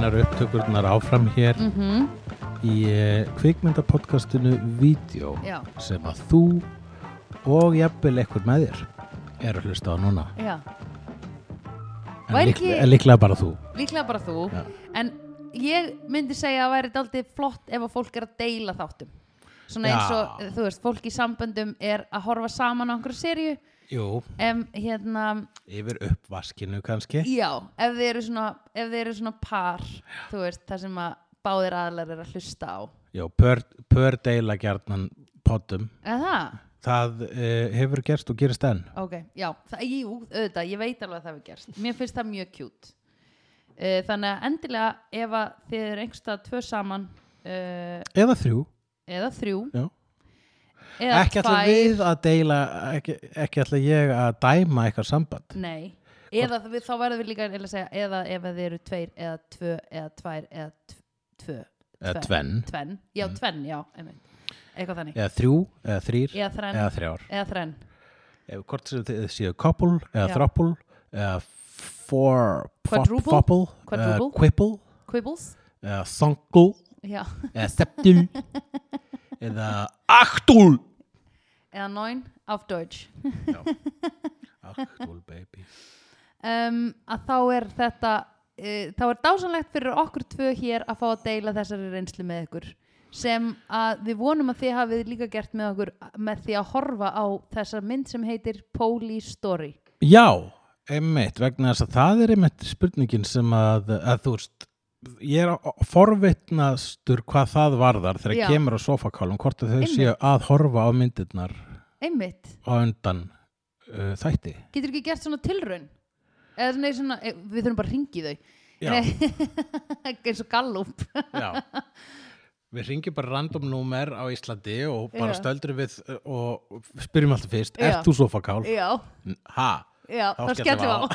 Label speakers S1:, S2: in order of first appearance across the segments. S1: upptökurnar áfram hér
S2: mm
S1: í eh, kvikmyndapodcastinu Vídeó
S2: Já,
S1: sem að þú og jafnvel ekkur með þér eru að hlusta á núna
S2: já,
S1: en, líkle-
S2: Væri ekki-
S1: en líklega bara þú
S2: líklega bara þú
S1: Já.
S2: En ég myndi segja að væri daldið flott ef að fólk er að deila þáttum Svona
S1: Já.
S2: eins og, þú veist, fólk í samböndum er að horfa saman á einhverju serju
S1: Jú,
S2: Em, hérna,
S1: yfir uppvaskinu kannski
S2: já, ef þið eru svona, ef þið eru svona par, þú veist, það sem að báðir aðlar er að hlusta á
S1: Jú, pör, pör deila gjarnan poddum
S2: Eða það?
S1: Það uh, hefur gerst og gerist enn
S2: Ok, já, það, jú, auðvitað, ég veit alveg að það hefur gerst. Mér finnst það mjög kjút. Uh, þannig að endilega ef að þið eru einhverstað tvö saman uh,
S1: Eða þrjú
S2: eða þrjú
S1: Já.
S2: eða
S1: Ekki ætla við að deila ekki, ekki ætla ég að dæma eitthvað samband
S2: Nei, eða við, þá verðum við líka eða, segja, eða ef að þið eru tveir eða tvö eða tvær eða tv- tvö
S1: Eða tvenn
S2: Tvenn, já,
S1: Mm.
S2: tvenn, já, einmitt. Eitthvað þannig.
S1: Eða þrjú, eða þrýr,
S2: Eða þrenn,
S1: eða þrjár
S2: eða þrenn.
S1: Ef hvort sem þið séu couple, eða
S2: Já.
S1: throuple eða four
S2: Quadruple?
S1: fopple, eða
S2: Quadruple?
S1: quipple
S2: Quibbles,
S1: eða thungle,
S2: já,
S1: eða septul eða achtul
S2: eða neun auf Deutsch.
S1: Achtul baby
S2: um, að þá er þetta uh, þá er dásanlegt fyrir okkur tvö hér að fá að deila þessari reynslu með ykkur sem að við vonum að þið hafið líka gert með okkur með því að horfa á þessa mynd sem heitir Poli Story
S1: Já, einmitt, vegna þess að það er einmitt spurningin sem að, að þú veist ég er á- forvitnastur hvað það varðar þegar
S2: Já.
S1: kemur á sofakálum hvort að þau
S2: Einmitt.
S1: séu að horfa á myndirnar
S2: einmitt,
S1: á undan uh, þætti
S2: getur ekki gert svona tilraun eða svona, svona eh, við þurfum bara að ringi þau
S1: Já,
S2: Nei, eins og gallup
S1: já Við ringjum bara random númer á Íslandi og bara
S2: Já.
S1: stöldur við uh, og spyrjum alltaf fyrst,
S2: Já.
S1: ert þú sofakál?
S2: já,
S1: Ha?
S2: já,
S1: Þá
S2: þá
S1: skellum
S2: skellum
S1: við á.
S2: við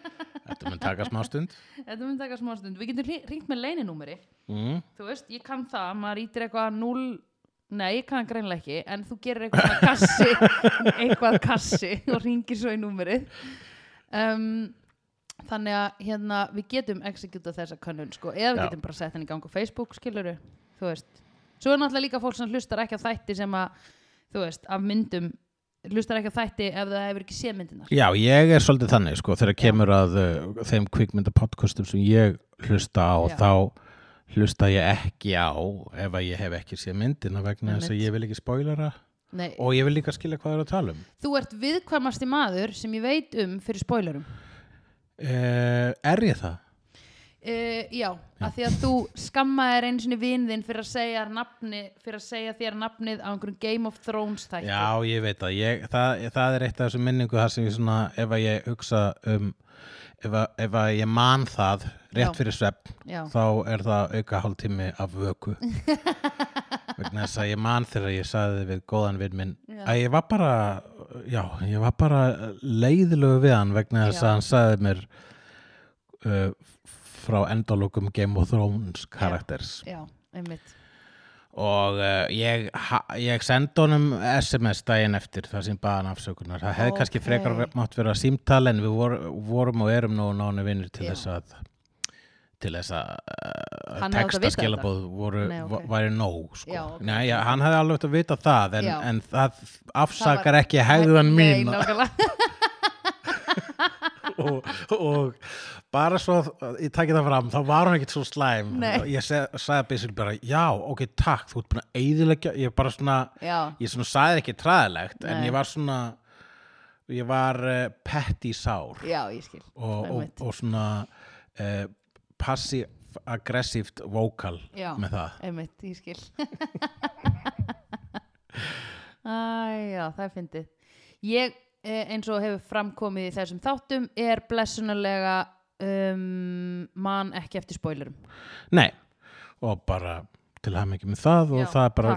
S2: á
S1: Þetta mun taka smá stund
S2: þetta mun taka smá stund, við getum hri- hringt með leininúmeri
S1: mm.
S2: þú veist, ég kann það, maður ítir eitthvað 0, nei, ég kann það greinlega ekki en þú gerir eitthvað svona kassi eitthvað kassi og ringir svo í númerið um, þannig að hérna við getum executa þessa könnun sko, eða við
S1: Já.
S2: getum bara sett henni í gang á Facebook skiluru, þú veist svo er náttúrulega líka fólk sem hlustar ekki á þætti sem að, þú veist, af myndum hlustar ekki á þætti ef það hefur ekki séð myndinar
S1: Já, ég er svolítið þannig sko þegar kemur að uh, þeim kvikmyndapodcastum sem ég hlusta á
S2: Já.
S1: þá hlusta ég ekki á ef að ég hef ekki séð myndina vegna þess að
S2: Einmitt.
S1: ég vil ekki spoilera
S2: nei,
S1: og ég vil líka skilja hvað það er að tala um
S2: þú ert viðkvæmasti maður sem ég veit um fyrir spoilerum
S1: uh, Er ég það?
S2: Uh, já, af því að þú skammaðir einu sinni vinðin fyrir að segja, nafni, fyrir að segja þér nafnið á einhverjum Game of Thrones þætti.
S1: Já, ég veit það. Ég, það Það er eitt af þessum minningu þar sem ég svona ef að ég hugsa um ef að, ef að ég man það rétt
S2: Já.
S1: fyrir svefn
S2: Já,
S1: þá er það auka hálftími af vöku vegna þess að ég man þegar ég saði við góðan vinn minn
S2: Já.
S1: að ég var bara já, ég var bara leiðilegu við hann vegna þess
S2: Já.
S1: að hann saði mér uh, frá endalokum Game of Thrones karakters
S2: já, einmitt.
S1: og uh, ég, ha- ég sendi honum SMS daginn eftir þar sem baðan afsökunar það hefði kannski
S2: Ókei.
S1: frekar ver- mátt vera símtal en við vor, vorum og erum nú nánu vinnur til
S2: Já.
S1: þess að til þess að uh,
S2: Hann hefði átt að
S1: texta
S2: vita
S1: skilabóð voru,
S2: Nei,
S1: va-
S2: ókei.
S1: væri nóg sko.
S2: Já, ókei.
S1: Nei, já, hann hefði alveg átt að vita það en,
S2: Já.
S1: en það afsakar ekki hegðan mín
S2: Nei, nákvæmlega.
S1: og, og bara svo að ég takki það fram, þá var hún ekkert svo slæm
S2: Nei.
S1: ég seg, sagði basically bara já, ok, takk, þú ert búin að eyðilegja ég bara svona,
S2: já,
S1: ég svona sagði ekki træðilegt, en
S2: Nei.
S1: ég var svona ég var uh, petty sár
S2: já, ég skil.
S1: og, og,
S2: Einmitt.
S1: og svona uh, passiv-aggressivt vokal
S2: Já.
S1: með það
S2: Einmitt, ég skil. Æ, já, það er fyndið. Ég, eh, eins og hefur framkomið í þessum þáttum, er blessunarlega um, man ekki eftir spoilerum.
S1: Nei, og bara til hafði með það og
S2: Já,
S1: það er bara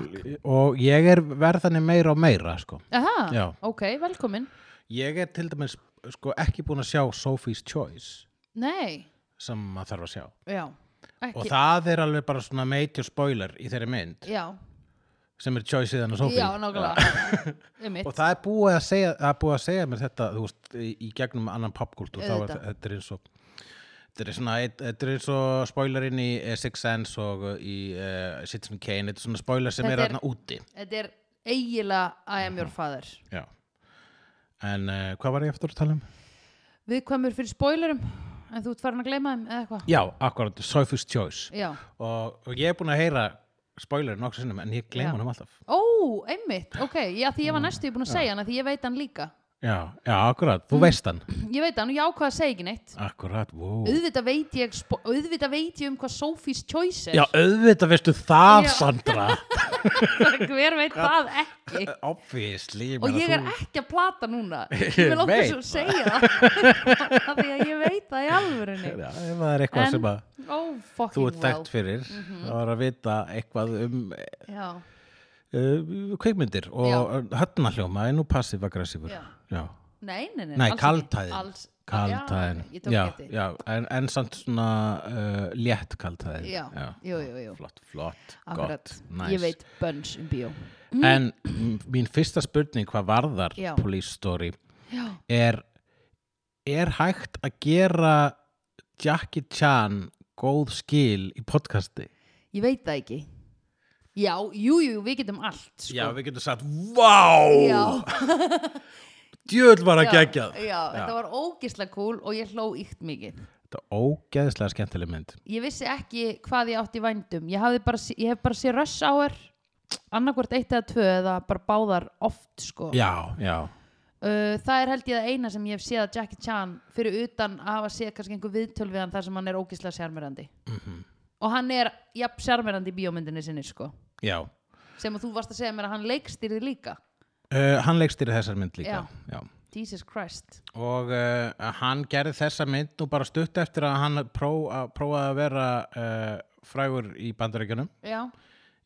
S1: og ég er verðanir meira og meira sko.
S2: Aha,
S1: Já.
S2: ok, velkomin.
S1: Ég er til dæmis sko, ekki búin að sjá Sophie's Choice
S2: Nei,
S1: sem maður þarf að sjá
S2: já, ekki.
S1: og það er alveg bara svona major spoiler í þeirri mynd
S2: Já,
S1: sem er Choice íðan að Sophie
S2: já, nákvæmlega Einmitt.
S1: og það er búið að segja, það er búið að segja mér þetta þú veist, í í gegnum annan popkultúr þá er
S2: Auðvitað.
S1: þetta er eins og Þetta er svona, þetta er eins og spoilerinn í eh, Sixth Sense og eh, í uh, Citizen Kane, þetta er svona spoiler sem
S2: Þetta
S1: er
S2: er-
S1: þarna úti.
S2: Þetta er eiginlega I am your father
S1: Já. En uh, hvað var ég eftir að tala um?
S2: Viðkvæmur fyrir spoilerum en þú ert farin að gleyma þeim eða eitthvað
S1: Já, akkurat, Sophie's Choice.
S2: Já,
S1: Og, og ég er búin að heyra spoilerinn nokkuð sinnum, en ég
S2: Já.
S1: gleyma honum alltaf.
S2: ó, einmitt, ok Já, því ég var næstu, ég búin að segja hana því ég veit hann líka
S1: Já, já, akkurat,
S2: Mm.
S1: þú veist hann.
S2: Ég veit hann og ég ákvað að segja ekki neitt
S1: Akkurat, wow.
S2: auðvitað veit ég spo- auðvitað veit ég um hvað Sophie's Choice er
S1: Já, auðvitað veistu það,
S2: Já.
S1: Sandra.
S2: hver veit það ekki
S1: Obviously.
S2: og ég er
S1: þú...
S2: ekki að plata núna ég
S1: Ég
S2: vil okkur
S1: veit
S2: svo segja það af því að ég veit það í alvörunni
S1: Já, ef það er eitthvað
S2: En-
S1: sem að
S2: oh
S1: þú
S2: fucking
S1: ert
S2: well
S1: þekkt fyrir,
S2: Mhm.
S1: þá er að vita eitthvað um
S2: já,
S1: uh, kveikmyndir og höllnahljóma, en nú passíf-aggressífur.
S2: Já.
S1: já.
S2: nei, nei, nei,
S1: Nei,
S2: alls
S1: kaldhæðin.
S2: ekki. alls,
S1: Kaltæðin.
S2: já, ég tók
S1: já,
S2: geti
S1: já, en, en samt svona uh, létt kaltæðin.
S2: Já, jú, jú, jú.
S1: Flott, flott,
S2: akkurat,
S1: gott, næs.
S2: ég veit bönns um bíó
S1: En m- mín fyrsta spurning hvað varðar
S2: Já.
S1: Police Story
S2: já,
S1: er, er hægt að gera Jackie Chan góð skil í podcasti?
S2: ég veit það ekki já, jú, jú, við getum allt sko.
S1: Já, við getum sagt, vá,
S2: Já.
S1: djöðl var að
S2: Já,
S1: gegjað.
S2: já, þetta var ógislega cool og ég hló ykt mikið
S1: Þetta er ógeðslega skemmtileg mynd.
S2: ég vissi ekki hvað ég átti í vændum ég, hafði bara, sé- ég hef bara sé rush hour annarkvort eitt eða tvö eða bara báðar oft sko uh,
S1: Já, já,
S2: Eh, það er held ég það eina sem ég hef séð að Jackie Chan fyrir utan að hafa séð kannski einhver viðtöl við hann þar sem hann er ógislega sjarmerandi
S1: Mhm.
S2: og hann er jafn sjarmerandi í bíómyndinni sinni sko
S1: já.
S2: sem að þú varst að segja mér að hann leikstýrði líka
S1: Uh, hann leikstýri þessar mynd líka. Já.
S2: Jesus Christ
S1: Og uh, hann gerði þessa mynd og bara stutt eftir að hann pró, að, prófaði að vera uh, frægur í bandaríkjunum.
S2: já,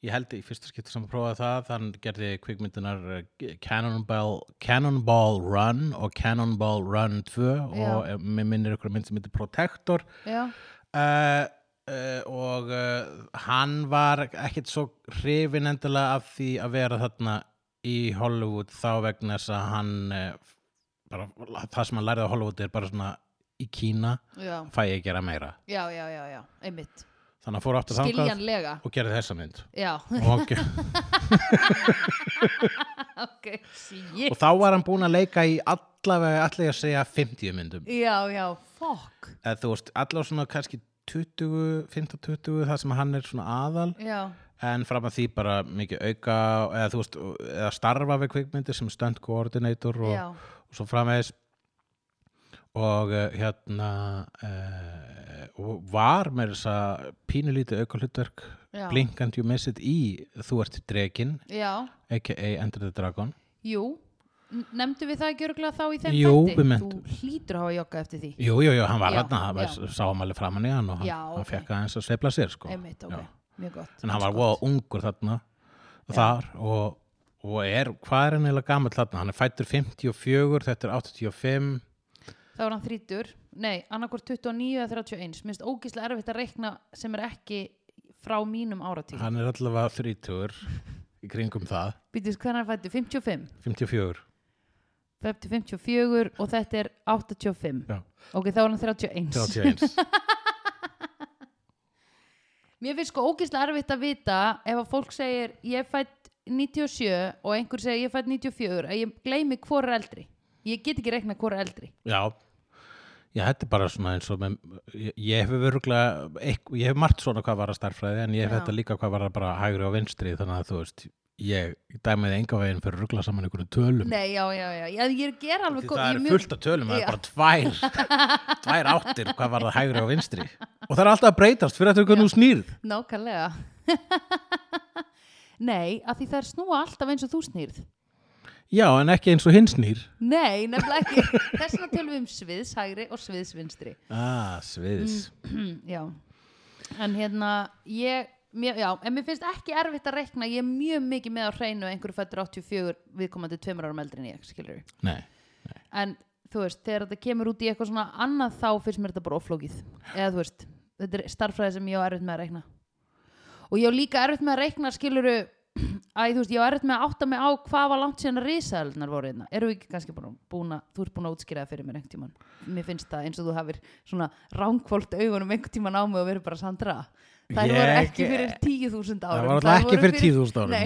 S1: Ég held í fyrsta skipti sem hann prófaði það, hann gerði kvikmyndunar eh, Cannonball, Cannonball Run og Cannonball Run 2 og eh, mig minnir ykkur mynd sem heitir Protector
S2: já,
S1: uh, uh, og uh, hann var ekkit svo hrifin endilega af því að vera þarna í Hollywood þá vegna þess að hann uh, bara, það sem hann lærði á Hollywood er bara svona í Kína
S2: já,
S1: fæ ég að gera meira
S2: já, já, já, já. einmitt
S1: þannig að fór aftur þangað
S2: skiljanlega,
S1: og gerði þessa mynd
S2: já,
S1: og, ge-
S2: ok shit
S1: og þá var hann búinn að leika í allavega, allavega að segja 50 myndum
S2: Já, já, fokk
S1: eða þú veist, allavega svona kannski 20, 15-20 það sem hann er svona aðal
S2: Já,
S1: en fram að því bara mikið auka eða, þú veist, eða starfa við kvikmyndir sem stunt coordinator
S2: Já.
S1: og, og svo framvegis og eh, hérna eh, og var með þess að pínulítið auka hlutverk
S2: Já.
S1: Blink and You Miss It í Þú ert dregin
S2: já,
S1: aka Enter the Dragon
S2: jú N- Nefndu við það ekki örgulega þá í þeim
S1: Jú,
S2: þætti?
S1: við menntum.
S2: Þú hlýtur að hafa joggað eftir því
S1: Jú, jú, jú, hann var
S2: Já,
S1: þarna, hann var-
S2: já.
S1: sá hann alveg framan í hann og hann,
S2: Já,
S1: hann
S2: ok.
S1: fekk aðeins að sveifla sér sko.
S2: Einmitt, ok,
S1: Já.
S2: mjög gott
S1: en hann var
S2: Mjög
S1: voða
S2: gott.
S1: ungur þarna þar og, og er, hvað er hann eiginlega gamall þarna? Hann er fættur 54, þetta er 85
S2: Þá var hann þrítur, nei, annarkvort 29 eða 31 Minnst ógíslega erfitt að reikna sem er ekki frá mínum áratíð
S1: hann er allavega 30 í kringum það,
S2: Býtis, hvernig hann fættu? 55
S1: 54
S2: 50, 54 og þetta er 85
S1: Já.
S2: Ok, þá var hann 31
S1: 31,
S2: Mér finnst sko ógeðslega erfitt að vita ef að fólk segir ég er fætt 97 og einhver segir ég er fætt 94 að ég gleymi hvor er eldri. Ég get ekki reikna hvor er eldri.
S1: já Já, þetta er bara svona eins og með, ég, ég hef örgulega, ég hef margt svona hvað var að starffræði en ég hef
S2: Já.
S1: þetta líka hvað var að bara hægri og vinstri þannig að þú veist, ég dæmiði enga veginn fyrir ruggla saman einhverjum tölum
S2: Nei, já, já, já. Ég, ég ger alveg
S1: Því
S2: góð-
S1: það
S2: ég
S1: eru
S2: mjög-
S1: fullt af tölum, það eru
S2: Já.
S1: bara tvær, tvær áttir, hvað var það hægri og vinstri. Og það er alltaf að breytast fyrir eftir hvernig þú snýrð.
S2: Nákvæmlega. Nei, af því það er snúa alltaf eins og þú snýrð.
S1: Já, en ekki eins og hinn snýr.
S2: Nei, nefnilega ekki. Þess vegna tölum við um sviðshægri og sviðsvinstri.
S1: Ah, sviðis.
S2: já. En hérna, ég, mér, já, en mér finnst ekki erfitt að reikna, ég er mjög mikið með á hreinu að einhverju fættur 84 viðkomandi tveimur árum eldri en ég, skilur við.
S1: Nei,
S2: En þú veist, þegar þetta kemur út í eitthvað svona annað þá finnst mér þetta bara oflókið. Eða þú veist, þetta er starffræði sem ég á erfitt með að reikna. Og ég á líka erfitt með að reikna, skilur við, æ, þú veist, ég var erfitt með að átta mig á hvað var langt síðan risaðalunar voru hérna eru við ekki kannski búin, búin að, þú ert búin að útskýra það fyrir mér einhvern tíman, mér finnst það eins og þú hafir svona ránkvólt augunum einhvern tíman á mig og verið bara Sandra það voru
S1: Ég-
S2: ekki fyrir 10.000 árum
S1: Það var alltaf ekki
S2: voru
S1: fyrir 10.000 árum.
S2: Nei,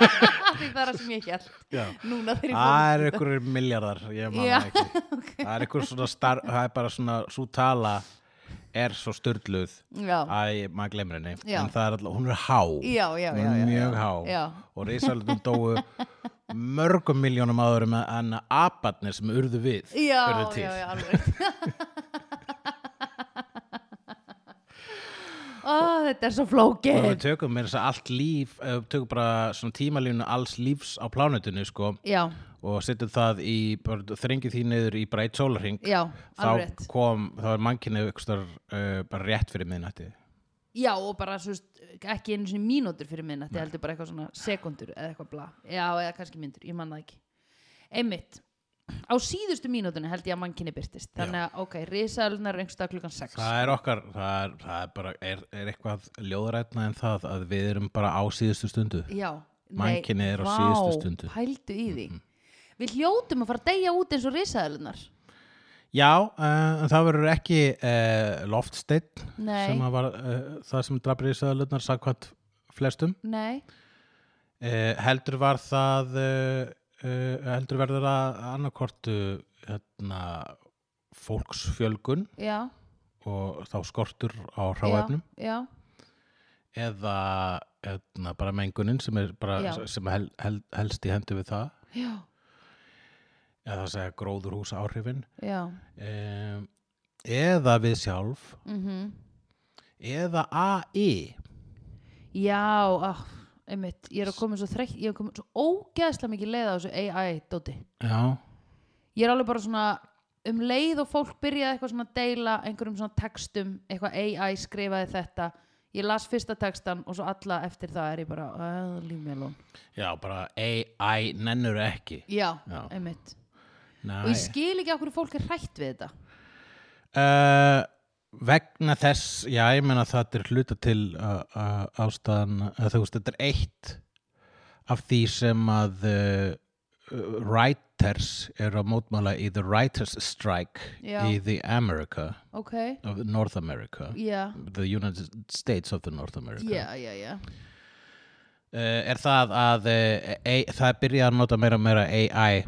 S2: ok. Því það er það sem ég held
S1: Já.
S2: núna þegar ég
S1: Það
S2: fór
S1: er einhverjir miljardar, ég man
S2: Já,
S1: það ekki. Það er einhver svona star, það er bara svona, svo tala er svo styrluð
S2: Já,
S1: að ég- maður glemur henni.
S2: Já.
S1: En það er alltaf, hún er há.
S2: já, já,
S1: Hún
S2: já,
S1: er
S2: já, já.
S1: mjög há.
S2: Já.
S1: Og risalutun dóu mörgum miljónum áðurum en að aparnir sem urðu við
S2: Já,
S1: urðu til.
S2: já, já, alveg rétt. Ó, þetta er svo
S1: Og ef við
S2: flókið
S1: tökum með þess að allt líf, ef við tökum bara svona tímalínu alls lífs á plánutinu, sko,
S2: Já,
S1: og setjum það í, bara þrengið því niður í breyt sólarhing,
S2: já, alveg
S1: þá
S2: rétt
S1: kom, þá er mannkynnið ykkur starf uh, bara rétt fyrir miðnætti
S2: Já, og bara svo, ekki einu sinni mínútur fyrir minna Þetta heldur bara eitthvað svona sekundur eða eitthvað bla Já, eða kannski myndur, ég man það ekki Einmitt Á síðustu mínútunni held ég að mann kynni byrtist Þannig að, ok, risalunar er einhverstað klukkan 6
S1: það er okkar, það er, það er bara er, er eitthvað ljóðrætna en það að við erum bara á síðustu stundu
S2: Já, nei,
S1: Mannkynið er á
S2: vá,
S1: síðustu stundu.
S2: Pældu í því Við hljótum að fara að deyja út eins og risalunar
S1: já, uh, en það verður ekki uh, loftsteinn
S2: Nei.
S1: sem að var uh, það sem drafrið sæðalutnar sakvæmt flestum
S2: Nei
S1: uh, heldur var það uh, uh, heldur verður það annarkortu hérna, fólksfjölgun
S2: Já,
S1: og þá skortur á hráefnum
S2: já,
S1: eða eðna, bara mengunin sem, er bara,
S2: Já.
S1: sem hel, hel, helst í hendu við það
S2: já,
S1: eða það segja gróðurhúsa áhrifin
S2: já, já.
S1: um, eða við sjálf
S2: mhm.
S1: eða AI
S2: Já, ah, einmitt, ég er að koma svo þreytt, ég er að koma svo ógeðslega mikið leið á þessu AI-dóti.
S1: já,
S2: Ég er alveg bara svona, um leið og fólk byrjaði eitthvað svona að deila einhverjum svona textum, eitthvað AI skrifaði þetta, ég las fyrsta textan og svo alla eftir það er ég bara, uh, líf mér lón.
S1: já bara AI nennur ekki
S2: Já,
S1: Já.
S2: einmitt. Og
S1: Nei.
S2: ég skil ekki okkur fólk er hrætt við þetta.
S1: Uh, vegna þess já, ég meina það er hluta til uh, uh, ástæðan, uh, þú veist, þetta er eitt af því sem að uh, uh, writers eru að mótmála í the writers strike
S2: Já.
S1: í the America
S2: Ok,
S1: of North America
S2: já,
S1: the United States of the North America
S2: já, já, já.
S1: uh, er það að uh, e, það er byrjað að nota meira og meira AI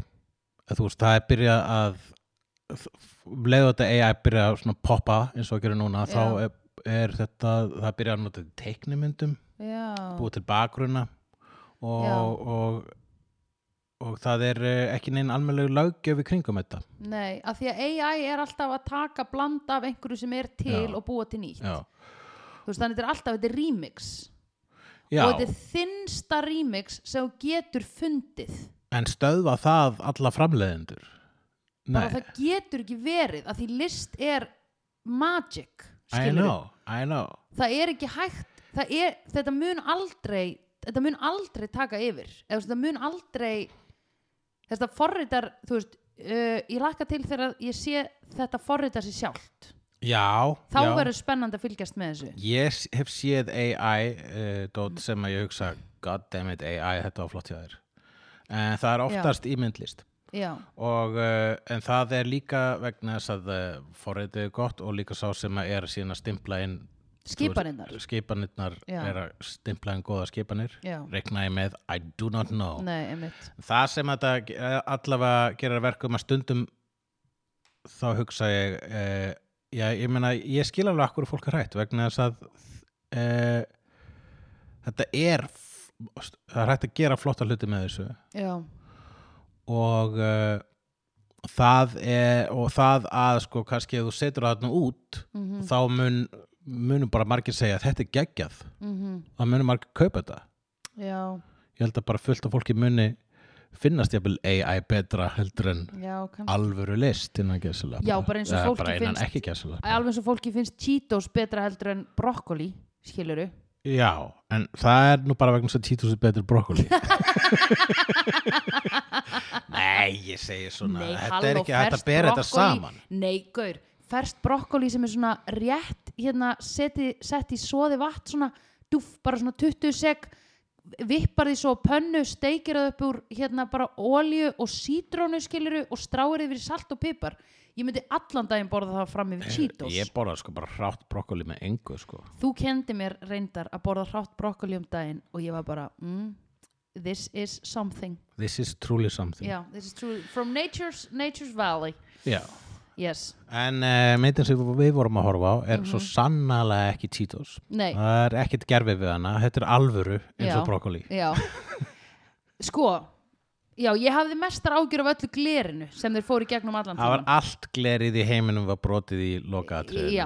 S1: að þú veist, það er byrjað að um leiðu þetta AI byrja að svona poppa eins og að gera núna þá
S2: Já.
S1: er, er þetta, það byrja að nota þetta í teiknimyndum,
S2: Já,
S1: búið til bakgrunna
S2: Já.
S1: og, og og það er eh, ekki neinn almennlegu löggjöf í kringum þetta
S2: nei, af því að AI er alltaf að taka bland af einhverju sem er til
S1: Já.
S2: og búa til nýtt.
S1: já,
S2: þú veist þannig þetta er alltaf þetta er remix
S1: já.
S2: og þetta er þinnsta remix sem þú getur fundið
S1: en stöðva það alla framleiðendur
S2: bara það getur ekki verið að því list er magic
S1: I
S2: skilurðu.
S1: know, I know
S2: það er ekki hægt það er, þetta mun aldrei þetta mun aldrei taka yfir eða þú veist, þetta mun aldrei þetta forritar þú veist Uh, ég lakka til þegar ég sé þetta forrita sér sjálft
S1: Já,
S2: þá
S1: já.
S2: verður spennandi að fylgjast með þessu
S1: Ég s- hef séð AI uh, dot sem að ég hugsa God damn it AI, þetta var flott hjá þér en það er oftast í myndlist
S2: já,
S1: og uh, en það er líka vegna þess að uh, forritið er gott og líka sá sem að er síðan að stimpla inn þú
S2: skipaninnar
S1: veist, skipanirnar
S2: Já.
S1: er að stimpla inn góða skipanir
S2: Já.
S1: rekna ég með I do not know
S2: nei, einmitt
S1: það sem þetta ge- allavega gerir að verkum að stundum þá hugsa ég eh, já, ég meina, ég skil alveg akkur fólk er hrætt vegna þess að eh, þetta er f- það er hægt að gera flotta hluti með þessu
S2: já,
S1: og eh, það er, og það að sko kannski ef þú setur það þarna út
S2: mhm mm
S1: þá mun, munum bara margir segja þetta er geggjað, það munum margir kaupa þetta
S2: mhm. Já,
S1: ég held að bara fullt af fólki muni finnast jafnvel AI betra heldur en
S2: já, kannski
S1: alvöru list innan gæsala
S2: Já, bara eins og fólki
S1: bara innan
S2: finnst-
S1: ekki gæsala
S2: Alveg eins og fólki finnst Cheetos betra heldur en brokkoli Skiluru
S1: já, en það er nú bara vegna þess að Títus er betur brokkoli nei, ég segi svona
S2: Nei,
S1: þetta
S2: halló,
S1: er ekki hægt
S2: ferskt
S1: að bera þetta
S2: brokkoli-
S1: saman
S2: Nei, gaur, ferst brokkoli sem er svona rétt Hérna, seti, sett í soði vatn Svona, dúf, bara svona 20 sek vippar því svo á pönnu, steikir það upp úr hérna bara olju og sítrónu skiluru og stráir yfir í salt og pipar ég myndi allan daginn borða það fram yfir Cheetos
S1: Ég borða sko bara hrátt brokkoli með engu sko.
S2: þú kendi mér reyndar að borða hrátt brokkoli um daginn og ég var bara mm, this is something
S1: This is truly something.
S2: yeah, this is true from nature's, nature's valley
S1: Já.
S2: yes,
S1: En uh, myndin sem við vorum að horfa á er svo sannlega ekki Cheetos.
S2: Mhm. nei
S1: Það er ekkert gerfið við hana. Þetta er alvöru eins og
S2: Já.
S1: brokkoli.
S2: Já Sko Já, ég hafði mestar ágjur af öllu glerinu sem þeir fóru í gegnum allan
S1: Það var allt glerið í heiminum var brotið í lokaðatriðinu.
S2: Já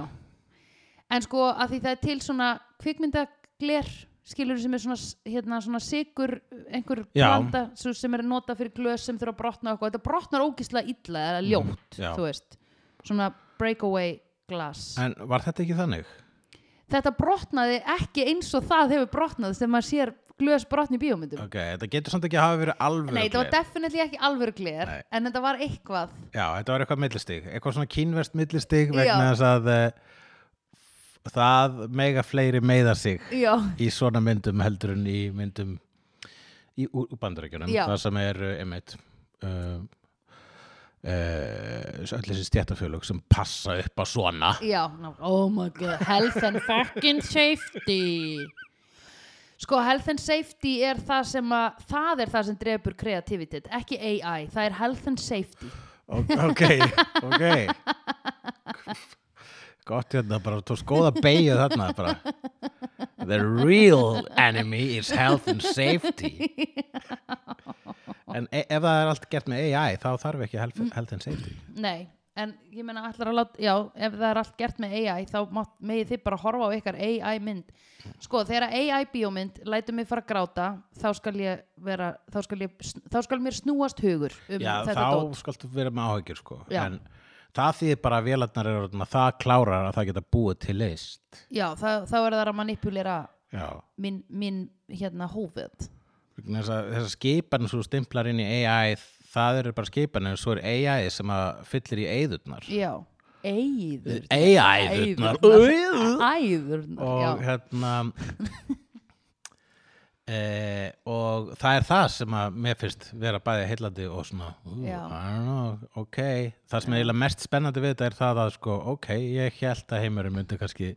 S2: En sko, að því það er til svona kvikmyndagler skilur sem er svona, s- hérna, svona sigur einhver
S1: Já.
S2: blanda svo sem er nota fyrir glös sem þurfa að brotna og eitthvað þetta brotnar ógislega illa eða ljótt
S1: Mm, já.
S2: þú veist, svona breakaway glass
S1: En var þetta ekki þannig?
S2: þetta brotnaði ekki eins og það hefur brotnað sem maður sér glös brotni í bíómyndum
S1: Ok, þetta getur samt ekki að hafa verið alvöru
S2: Nei, þetta var
S1: gler.
S2: definitely ekki alvöru gler
S1: Nei.
S2: en þetta var eitthvað
S1: Já, þetta var eitthvað millistig, eitthvað svona kínverst millistig
S2: Já.
S1: vegna þess að uh, það mega fleiri meiða sig
S2: Já,
S1: í svona myndum heldur en í myndum í úr úr bandaríkjunum,
S2: Já.
S1: það sem er uh, einmitt uh, uh, öll þessi stjættafjölug sem passa upp á svona
S2: já, ná- oh my god Health and fucking safety Sko, health and safety er það sem að það er það sem drefur kreativitet, ekki AI það er health and safety
S1: Ok, ok, ok Gott hérna, bara tókst góða beigju þarna bara The real enemy is health and safety En e ef það er allt gert með AI þá þarf ekki health, health and safety
S2: Nei, en ég meina allar að láta já, ef það er allt gert með AI þá mátt- megið þið bara horfa á ykkar AI mynd Sko, þegar AI bíómynd lætur mig fara að gráta, þá skal ég vera, þá skal ég, þá skal mér snúast hugur um
S1: Já,
S2: þetta
S1: þá
S2: dót
S1: skaltu vera með áhyggjur sko
S2: Já.
S1: En það þýðir bara að vélarnar eru orðnar- það klárar að það geta búið til list
S2: Já, þá, þá er það að manipulera
S1: Já
S2: minn, minn hérna hófið
S1: þessar þessa skipan sem þú stimplar inn í AI það eru bara skipan en svo er AI sem að fyllir í eðurnar
S2: Já, eigður
S1: AI-þurnar
S2: Æðurnar, já
S1: og hérna e, og það er það sem að mér finnst vera bæði heillandi og svona ú, I
S2: Já.
S1: don't know, ok það sem er eiginlega mest spennandi við þetta er það að sko, ok, ég held að heimurinn myndi kannski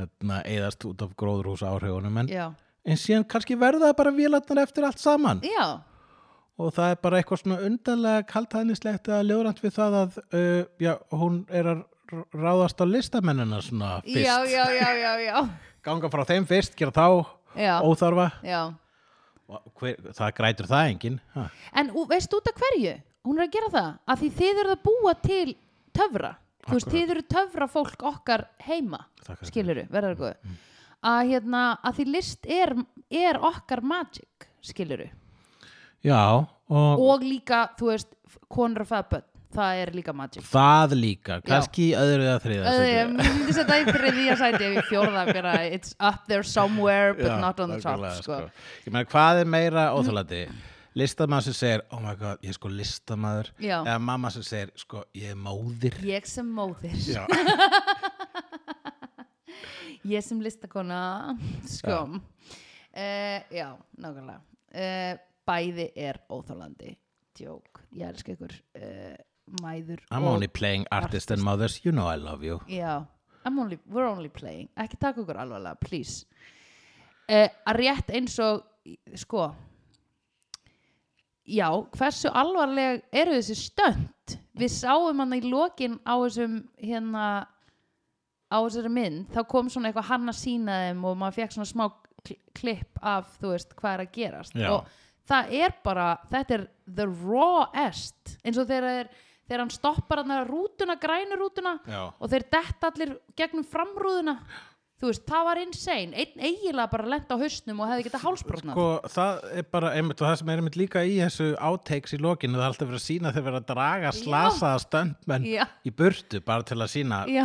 S1: hérna, eðast út af gróðrús áhrifunum en,
S2: Já,
S1: en síðan kannski verða það bara vélarnar eftir allt saman
S2: já,
S1: og það er bara eitthvað svona undarlega kaltæðnislegt að ljóðrænt við það að uh, já, hún er að r- ráðast á listamennina svona fyrst
S2: já, já, já, já, já.
S1: ganga frá þeim fyrst, gera þá
S2: Já.
S1: óþarfa
S2: já.
S1: Og hver, það grætur það engin ha.
S2: En ú- veistu út af hverju? Hún er að gera það Af því þið eru að búa til töfra Þú veist, þið eru töfra fólk okkar heima
S1: Takk fyrir.
S2: Skiluru, verður það mm. Að hérna, að því list er, er okkar magic Skiluru
S1: já, og,
S2: Og líka, þú veist, f- konur og fæðbönn Það er líka magic
S1: það líka kannski í öðru eða þriða
S2: Það er, mér myndi setja í þriðja sæti ef ég fjórða bara, it's up there somewhere but
S1: Já,
S2: not on the top,
S1: nákvæmlega,
S2: sko.
S1: Ég meina, hvað er meira óþjólandi? Listamaður sem segir, oh my god, ég er sko listamaður
S2: Já.
S1: eða mamma sem segir, sko, ég er móðir
S2: Ég sem móðir,
S1: Já,
S2: ég sem listakona, sko. Já, já nákvæmlega. Uh, bæði er óþálandi, djók, ég elska ykkur, uh, mæður
S1: I'm only playing artist and mothers, you know I love you
S2: Já, I'm only, we're only playing ekki taka okkur alvarlega, please uh, að rétt eins og sko já, hversu alvarleg eru þessi stönd við sáum hann í lokin á þessum hérna á þessari mynd, þá kom svona eitthvað hann að sína þeim og maður fekk svona smá kl- klipp af, þú veist, hvað er að gerast
S1: Já.
S2: og það er bara þetta er the rawest eins og þegar, þeir- þegar hann stoppar hann rútuna, grænu rútuna
S1: Já.
S2: og þeir detta allir gegnum framrúðuna þú veist, það var insane einn eiginlega bara lent á hausnum og hefði getað hálsbrotnað
S1: Sko, það er bara einmitt og það sem er einmitt líka í þessu átekks í lokinu, það er alltaf verið að sína þeir verið að draga slasaða stöndmenn
S2: Já.
S1: í burtu bara til að sína
S2: já,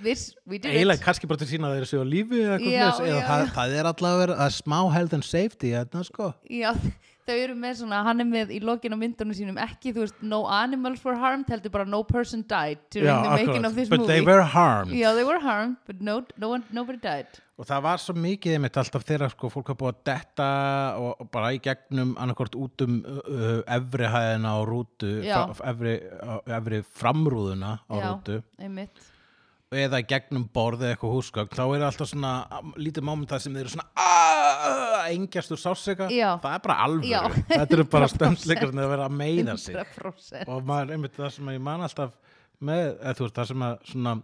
S2: This, we did
S1: eiginlega
S2: it
S1: kannski bara til að sína að þeir séu á lífi eða eitthvað
S2: Já,
S1: þess, eða
S2: já,
S1: það,
S2: já.
S1: það er alltaf verið það er smá health and safety, þetta sko
S2: já, þau þau eru með svona, hann er með í lokin á myndunum sínum ekki, þú veist, no animals were harmed heldur bara no person died during the making of this
S1: But
S2: movie
S1: they were harmed.
S2: yeah, they were harmed, but no, no one, nobody died
S1: Og það var svo mikið einmitt alltaf þeirra sko fólk hafa búið að detta og og bara í gegnum annarkort út um uh, uh, efri hæðina á rútu,
S2: Já.
S1: fra- efri, á- efri framrúðuna á
S2: Já.
S1: rútu
S2: einmitt,
S1: eða í gegnum borð eða eitthvað húsgögn þá er alltaf svona um, lítið moment það sem þeir eru svona "Ah!" að engjast úr sásika
S2: Já.
S1: það er bara alvöru,
S2: Já.
S1: þetta eru bara stömsleikar þegar það verið að meiða sig
S2: 100%
S1: og maður einmitt það sem ég man alltaf með, eða þú veist það sem að svona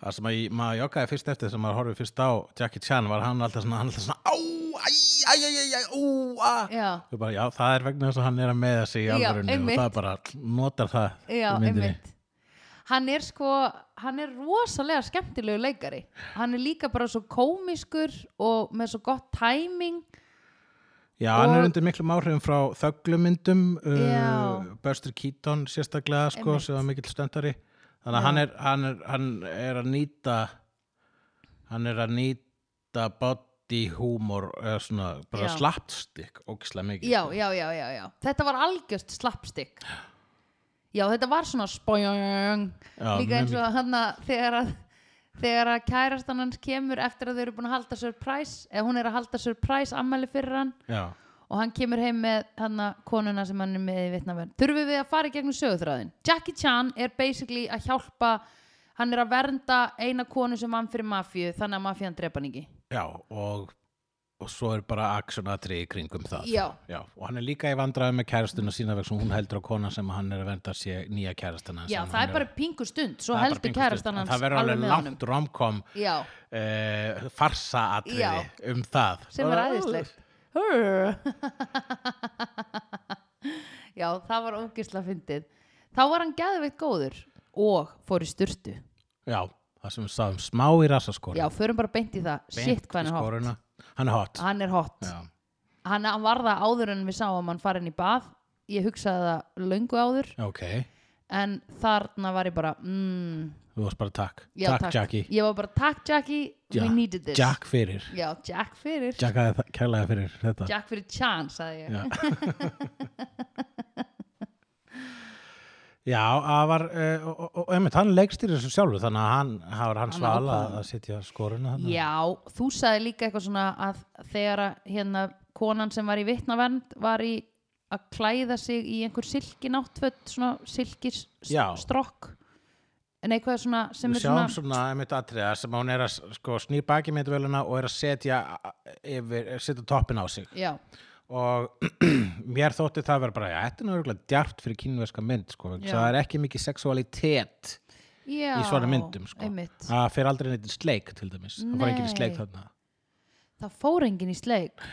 S1: það sem að ég, maður joggaði fyrst eftir sem maður horfið fyrst á Jackie Chan var hann alltaf svona, hann alltaf svona á, æ, æ, æ, æ, æ, ú, a
S2: já,
S1: og bara já, það er vegna þess að hann er að meða sig í
S2: Já,
S1: alvörunni og
S2: einmitt.
S1: það bara notar það
S2: já,
S1: í myndinni.
S2: einmitt hann er sko, hann er rosalega skemmtilegu leikari, hann er líka bara svo komiskur og með svo gott timing
S1: Já, hann er
S2: Og-
S1: undir miklum áhrifum frá þöglumyndum, uh,
S2: Já.
S1: Buster Keaton sérstaklega, sko,
S2: Einmitt.
S1: sem var mikill stöndari. Þannig að hann er, hann, er, hann er að nýta, hann er að nýta body humor, eða svona, bara
S2: Já.
S1: slappstikk, ógislega mikið.
S2: já, já, já, já, já þetta var algjörst slapstick já, þetta var svona spojong
S1: Já, mjög
S2: líka eins og hann að þegar að þegar að kærastan hans kemur eftir að þau eru búin að halda surprise eða hún er að halda surprise ammæli fyrir hann
S1: Já,
S2: og hann kemur heim með hann að konuna sem hann er með í vitnaverð þurfum við að fara í gegnum sögutræðin Jackie Chan er basically að hjálpa hann er að vernda eina konu sem vann fyrir mafíu þannig að mafían drepa hann ekki
S1: já, og, og svo er bara aksjonatri í kringum það.
S2: Já.
S1: og hann er líka í vandræði með kærastuna sína vegna hún heldur á kona sem hann er að vernda sé nýja kærastuna.
S2: já, það er bara pingu stund svo heldur kærastan hans
S1: Það verður
S2: alveg
S1: alveg
S2: með honum.
S1: langt romkom
S2: já,
S1: uh, farsa
S2: Já.
S1: atriði um það
S2: sem er
S1: Bara,
S2: æðislegt Hurr. já, það var ógisla fyndið þá var hann geðveitt góður og fór í sturtu
S1: Já, það sem við sagðum smá í rasaskóri
S2: já, förum bara beint í það, shit hvað hann er hot
S1: Hann er hot
S2: hann er hot
S1: Já,
S2: hann, hann var það áður en við sáum hann farin í bað ég hugsaði það löngu áður
S1: ok,
S2: en þarna var ég bara mm,
S1: þú varst bara takk
S2: já,
S1: Takk, Jackie
S2: ég var bara takk Jackie,
S1: Ja-
S2: we needed this
S1: Jack fyrir
S2: já, Jack fyrir Jack,
S1: Jack að kærlega fyrir þetta
S2: fyrir Chan, sagði ég
S1: Já Já, það var uh, og, og, og einmitt, hann leikstýrir þessu sjálfur þannig að hann, það var hann
S2: Hann
S1: svala
S2: ákvað.
S1: að setja skoruna þarna.
S2: Já, þú sagði líka eitthvað svona að þegar að hérna konan sem var í vittnavernd var í að klæða sig í einhver silkináttföt, svona
S1: Já.
S2: silkistrokk en eitthvað svona sem
S1: Við
S2: er
S1: sjáum
S2: svona,
S1: svona einmitt atriða sem hún er að sko, snýr baki með völuna og er að setja, yfir, setja toppin á sig
S2: Já,
S1: og mér þótti það vera bara, já, þetta er náttúrulega djart fyrir kínverska mynd, sko, vegna þess að
S2: Já.
S1: það er ekki mikið sexualitet
S2: Já
S1: í svona myndum, sko
S2: einmitt.
S1: það fer aldrei neitt í sleik, til dæmis það var enginn í
S2: Nei.
S1: sleik þarna
S2: Það fór enginn í sleik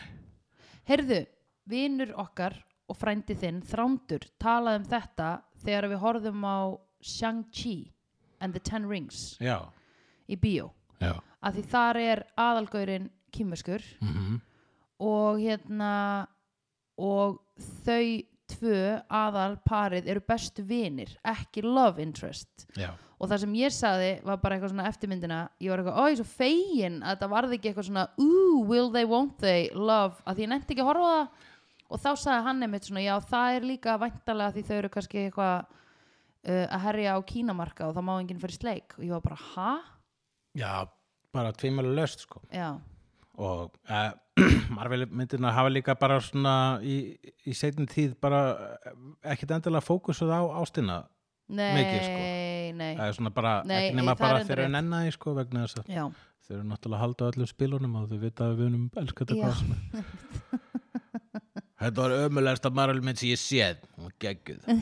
S2: Heyrðu, vinur okkar og frændi þinn, Þrándur talaði um þetta þegar við horfðum á Shang-Chi and the Ten Rings
S1: já,
S2: í bíó
S1: já,
S2: að því þar er aðalgaurinn kýmverskur
S1: mm
S2: og hérna og þau tvö aðal parið eru bestu vinir ekki love interest
S1: já
S2: og það sem ég saði var bara eitthvað svona eftirmyndina ég var eitthvað, ó, ég er svo fegin að það varði ekki eitthvað svona, ooh, will they, won't they love, að því ég nefndi ekki að horfa á það og þá saði hann einmitt svona, já, það er líka væntalega því þau eru kannski eitthvað uh, að herja á kínamarka og það má enginn fyrir sleik og ég var bara, ha?
S1: já, bara tvímælu löst, sko
S2: Já,
S1: og uh, Marvel myndirna hafa líka bara svona í, í seitin tíð bara eh, ekkit endilega fókusuð á ástina
S2: nei,
S1: Mikið, sko.
S2: nei
S1: það er svona bara,
S2: Nei,
S1: ekki nema
S2: það er
S1: bara
S2: enda
S1: þeirra
S2: rétt.
S1: nenna því, sko, vegna þess að
S2: Já,
S1: Þeir eru náttúrulega að halda á öllum spilunum og þau vita að við unum elska þetta
S2: Já.
S1: hvað sem er. Þetta var ömulegasta marulmynd sem ég séð. Hún var gegguð.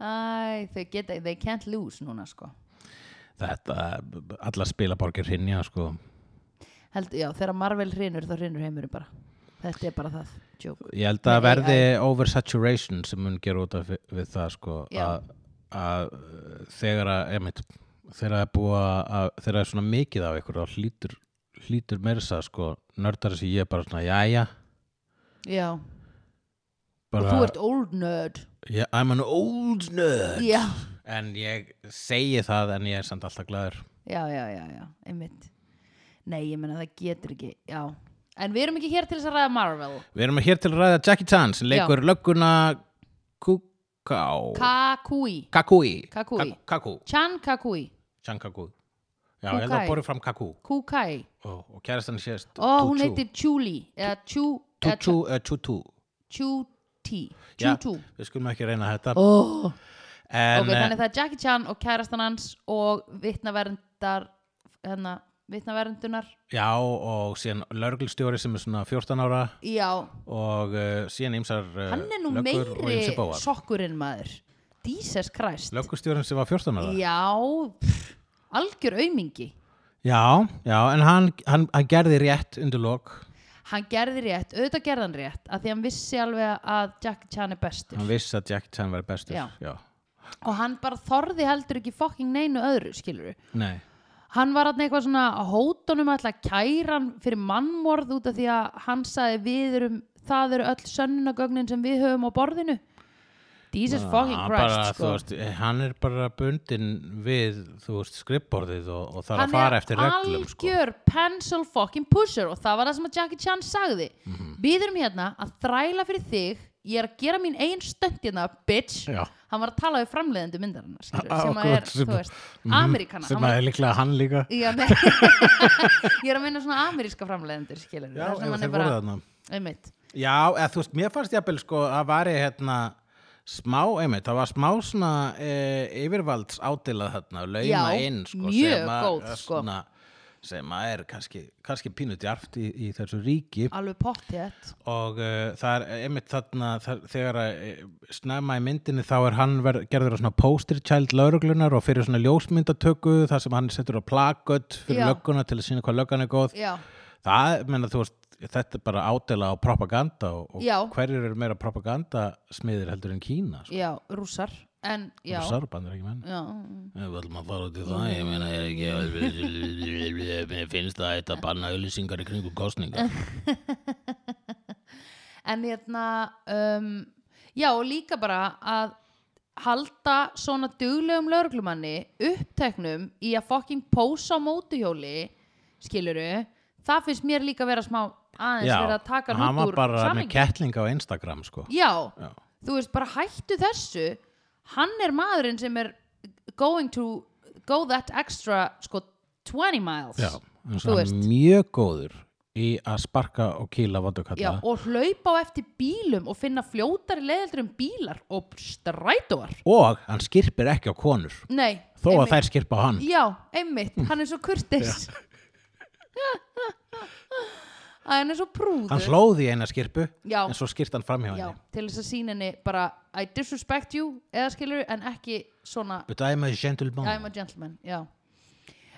S2: Æ, þau geta, they can't lose núna sko
S1: Þetta, alla spilaborgir hrinja, sko.
S2: Held, Já, þegar Marvel hrinur þá hrinur heimurinn bara Þetta er bara það, joke
S1: Ég held að
S2: Nei,
S1: verði oversaturation sem mun gera út af vi- við það, sko.
S2: Já.
S1: Að, að uh, þegar að, emitt, þegar að búa að, þegar að er svona mikið af ykkur, þá hlýtur, hlýtur meira það, sko, nördar þessi ég bara svona, jæja.
S2: Já,
S1: Bara,
S2: og þú ert old nerd
S1: yeah, I'm an old nerd.
S2: Já,
S1: En ég segi það en ég er samt alltaf glæður.
S2: já, já, já, já, einmitt nei, ég meina það getur ekki já, en við erum ekki hér til þess að ræða Marvel
S1: Við erum hér til að ræða Jackie Chan sem leikur lögguna Kuká
S2: Kakui,
S1: Kakúi
S2: Kakúi.
S1: Kak- Kakú
S2: Chan Kakui
S1: Chan Kakú Já, ég held
S2: Kukai.
S1: að borðu fram Kakú
S2: Kukai,
S1: og, og kærastan sést
S2: ó, hún heitir Chuli eða Chu, eða
S1: Tutu uh, Tutu
S2: Chu-ti
S1: Já.
S2: Chu-tu
S1: Við skulum ekki reyna þetta
S2: oh.
S1: En eh,
S2: ok, þannig það er Jackie Chan og kærastan hans og vitnaverndar hérna, vitnaverndunnar
S1: eh, já, og síðan lörglstjóri sem er svona 14 ára
S2: já,
S1: og uh, síðan ýmsar uh,
S2: hann er nú
S1: löggur og
S2: meiri
S1: ýmsir bóar
S2: sokkurinn maður Jesus Christ
S1: Löggustjórinn sem var 14 ára
S2: já, pff, algjör aumingi
S1: Já, já, en hann, hann, hann gerði rétt undir lok
S2: hann gerði rétt, auðvitað gerði hann rétt af því hann vissi alveg að Jackie Chan er bestur
S1: Hann vissi að Jack Chan var bestur
S2: Já.
S1: já.
S2: og hann bara þorði heldur ekki fucking neinu öðru skilur
S1: Nei
S2: hann var hann eitthvað svona að hótunum alltaf kæran fyrir mannmorð út af því að hann sagði við erum það eru öll sönnunagögnin sem við höfum á borðinu Jesus fucking
S1: Hann Ah,
S2: Christ
S1: bara,
S2: sko.
S1: þú veist, eh, hann er bara bundin við, þú veist, skrippborðið og, og þarf
S2: hann
S1: að fara eftir reglum sko.
S2: algjör pencil fucking pusher og það var það sem að Jackie Chan sagði
S1: Mhm.
S2: við erum hérna að þræla fyrir þig ég er að gera mín eigin stönd hérna bitch,
S1: Já.
S2: hann var að tala við framleiðendu myndarinnar skilur,
S1: Ah,
S2: sem
S1: ah,
S2: að er,
S1: gott, sem-
S2: þú veist,
S1: Mhm,
S2: Ameríkana
S1: sem að er líklega hann líka
S2: Já, nei. ég er að minna svona ameríska framleiðendur skilur
S1: Já,
S2: þar
S1: ef
S2: sem hann er
S1: þeir
S2: bara-
S1: voru þarna
S2: einmitt
S1: Já, eða, þú veist, mér fannst jafnvel sko að væri hérna smá, einmitt, það var smá svona e, yfirvalds átilað þarna lauma
S2: Já,
S1: inn, sko,
S2: mjög
S1: sem að
S2: góð, sko.
S1: svona, sem að er kannski, kannski pínu djarft í, í þessu ríki
S2: alveg pottjætt
S1: og uh, það er einmitt þarna þar, þegar að eh, snemma í myndinni þá er hann ver, gerður að svona poster child lauruglunar og fyrir svona ljósmyndatöku þar sem hann setur á plakut fyrir
S2: Já.
S1: lögguna til að sína hvað löggan er góð
S2: já,
S1: það, menna þú veist, þetta er bara ádela á propaganda og,
S2: Já.
S1: og hverjir eru meira propagandasmiðir heldur en Kína sko.
S2: já, rússar en já,
S1: Sárbandir ekki menn
S2: já mm.
S1: Ef Við ætlum að fara út í það, ég meina ég ekki, mér finnst það eitt að banna auðlýsingar í kringum kostninga.
S2: en hérna um, já og líka bara að halda svona duglegum lauruglumanni uppteknum í að fucking pósa á mótuhjóli skiluru, það finnst mér líka vera smá aðeins vera að taka hann
S1: hann
S2: út
S1: var
S2: úr
S1: bara með
S2: samhengi.
S1: kettling á Instagram, sko.
S2: já,
S1: Já.
S2: þú veist, bara hættu þessu hann er maðurinn sem er going to go that extra sko 20 miles
S1: Já, en
S2: þú
S1: svona
S2: veist.
S1: mjög góður í að sparka og kýla
S2: Já,
S1: vondukalla
S2: og hlaupa á eftir bílum og finna fljótari leiðeldur um bílar og strætóar
S1: og hann skirpir ekki á konur
S2: Nei,
S1: þó að
S2: einmitt.
S1: þær skirpa á hann
S2: Já, einmitt, hann er svo kurtis Hann er svo prúður
S1: hann hlóði í eina skirpu
S2: Já.
S1: en svo skirti hann framhjá
S2: Já,
S1: henni
S2: til þess að sína henni bara I disrespect you, eða skilur en ekki svona
S1: but I'm a gentleman
S2: I'm a gentleman, já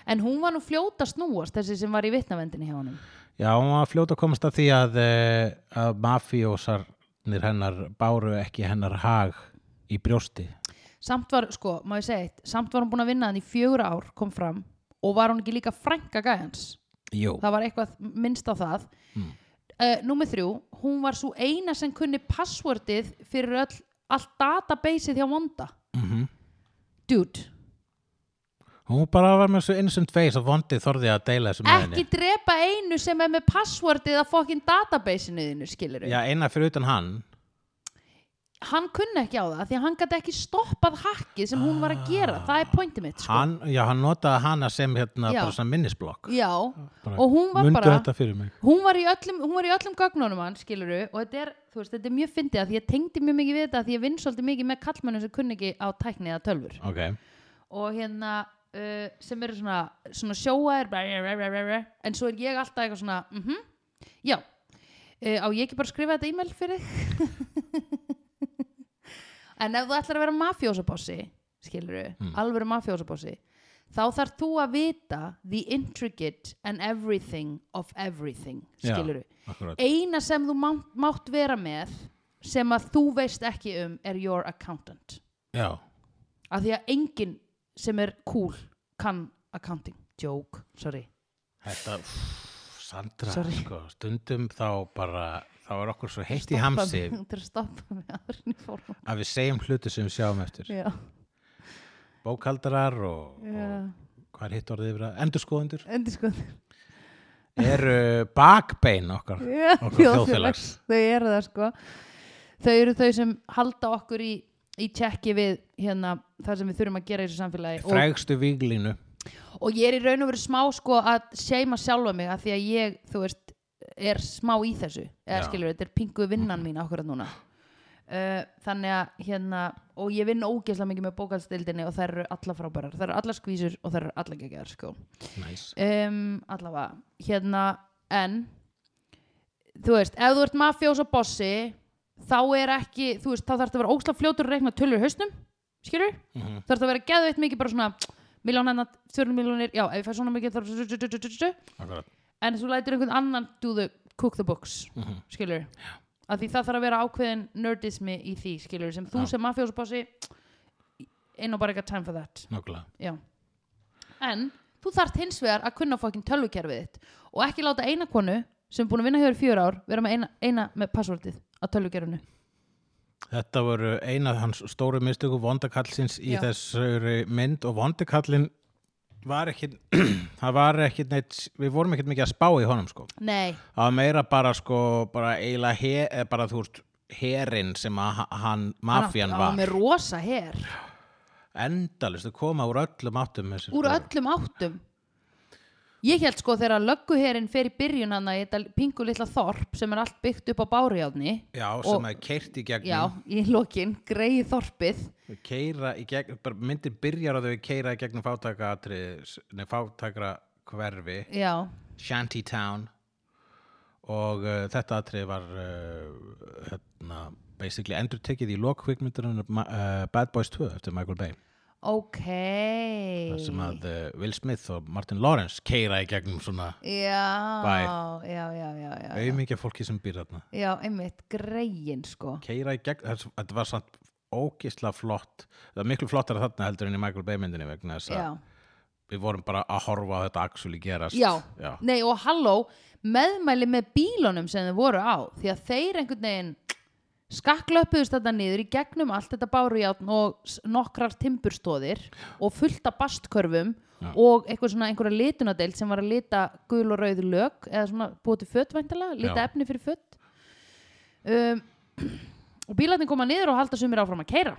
S2: En hún var nú fljóta að snúast þessi sem var í vitnavendinni hjá honum
S1: já, hann var fljóta að komast að því að, eh, að mafíósarnir hennar báru ekki hennar hag í brjósti
S2: Samt var, sko, má ég segja eitt Samt var hún búin að vinna hann í fjögur ár, kom fram og var hún ekki líka frænka gæjans
S1: Jú,
S2: það var eitthvað minnst á það mm. Númer þrjú, hún var svo eina sem kunni passwordið fyrir öll, allt databaseið hjá Vonda
S1: Mhm.
S2: Dude,
S1: hún bara var með svo innsumt face og vondi þorði að deila þessu með
S2: ekki drepa einu sem er með passwordið að fokkin databaseinu þínu, skilur
S1: henni já, eina fyrir utan hann
S2: Hann kunni ekki á það, því að hann gæti ekki stoppað hackið sem hún var að gera Það er pointið mitt, sko
S1: Ah. hann, já, hann notaði hana sem hérna
S2: Já.
S1: bara svona minnisblokk
S2: Já,
S1: Bara,
S2: og hún var
S1: "Mundu
S2: bara
S1: þetta fyrir mig
S2: hún var í öllum, hún var í öllum gögnunum hann skiluru og þetta er, þú veist, þetta er mjög fyndið að því ég tengdi mjög mikið við þetta af því ég vinn svolítið mikið með kallmönnum sem kunni ekki á tækni eða tölfur
S1: Ok,
S2: og hérna uh, sem eru svona, svona sjóaðir bla, bla, bla, bla, bla, bla, en svo er ég alltaf eitthvað svona mhm, já uh, á ég ekki bara að skrifa þetta e-mail fyrir þig en ef þú ætlar að vera mafjósabossi skiluru, alvöru mafjósabossi þá þarf þú að vita the intricate and everything of everything,
S1: Já.
S2: skiluru
S1: akkurat
S2: eina sem þú mátt, mátt vera með sem að þú veist ekki um er your accountant
S1: Já,
S2: af því að enginn sem er cool kann accounting joke, sorry
S1: þetta pff, Sandra,
S2: Sorry.
S1: sko, stundum þá bara, þá er okkur svo heitt í hamsi
S2: til að stoppa mig áður en ég fór frá-
S1: að við segjum hluti sem við sjáum eftir
S2: já,
S1: bókaldarar og,
S2: já,
S1: og hvað er hitt orðið yfir að endurskoðendur
S2: endur sko
S1: eru bakbein okkar,
S2: Já,
S1: okkar
S2: þjóðfélags.
S1: þjóðfélags.
S2: þau eru það sko þau eru þau sem halda okkur í, í tjekki við hérna það sem við þurfum að gera í þessu samfélagi og,
S1: Frægstu víglínu.
S2: og ég er í raun og veru smá sko að seima sjálfa mig að því að ég, þú veist, er smá í þessu eða
S1: Já.
S2: skilur, þetta er pingu vinnan mín okkur að núna uh, þannig að hérna, og ég vinn ógeðslega mikið með bókaldstildinni og þær eru alla frábærar þær eru alla skvísur og þær eru alla geggjæðar sko
S1: Næs.
S2: um, allavega hérna en þú veist, ef þú ert mafjós og bossi þá er ekki, þú veist, þá þarf það að vera ósla fljótur að reikna tölur í hausnum skilur,
S1: Mhm.
S2: þarf það að vera geðveitt mikið bara svona, miljón hennar, fjörnum miljónir já, ef ég fæ svona mikið þarf
S1: Akkurat.
S2: en þú lætur einhvern annan do the, cook the books,
S1: Mhm.
S2: skilur af því það þarf að vera ákveðin nerdismi í því, skilur, sem þú
S1: Já.
S2: sem mafjós og bossi einn og bara eitthvað time for that
S1: Nákvæmlega.
S2: Já. En þú þarft hins vegar að kunna fokkin tölvukerfið þitt og ekki láta eina konu sem er búin að vinna hjá þér í fjör ár vera með eina, eina með passvortið á tölvukerfinu.
S1: Þetta voru eina af hans stóru mistöku vondakallsins í
S2: Já.
S1: þessari mynd og vondakallin var ekki, það var ekki neitt, við vorum ekki mikið að spá í honum sko.
S2: Nei,
S1: Það var meira bara sko, bara eiginlega he, eða bara þú veist, herin sem að ha- hann, mafjan
S2: hann átti-
S1: var.
S2: hann með rosa her
S1: Endalist, þau koma úr öllum áttum. sko. þessir
S2: úr
S1: fjórir.
S2: öllum áttum. Ég held sko þegar lögguherin fer í byrjun hana í þetta pingu litla þorp sem er allt byggt upp á bárjáðni.
S1: Já, sem og,
S2: og-
S1: er keirt í gegnum.
S2: Já, í lokin, greið þorpið.
S1: keira í gegn, bara myndir byrjar á þau keira í gegnum fátæka nefn fátækra hverfi
S2: Já,
S1: Shantytown og uh, þetta atrið var uh, hérna, basically endur tekið í lokvikmyndunum uh, Bad Boys 2 eftir Michael Bay
S2: ok.
S1: þar sem að uh, Will Smith og Martin Lawrence keira í gegnum svona
S2: Já,
S1: Bæ.
S2: já, já, já, já. já.
S1: auðmikið fólki sem býr þarna
S2: Já, einmitt, greiðin sko
S1: keira í gegn, þess- þetta var samt ógisla flott, það var miklu flottar þarna heldur en í Michael Bay myndinni vegna þess að
S2: já.
S1: við vorum bara að horfa á þetta actually gerast
S2: já,
S1: Já.
S2: nei og halló meðmæli með bílunum sem þeir voru á því að þeir einhvern veginn skakklöpuðust þetta niður í gegnum allt þetta bárujátn og s- nokkrar timburstóðir og fullta bastkörfum
S1: Já.
S2: og eitthvað svona einhverja litunadeild sem var að lita gul og rauð lög eða svona búið til fött væntalega, lita
S1: Já.
S2: efni fyrir fött um, og bílarnir koma niður og halda sumir áfram að keira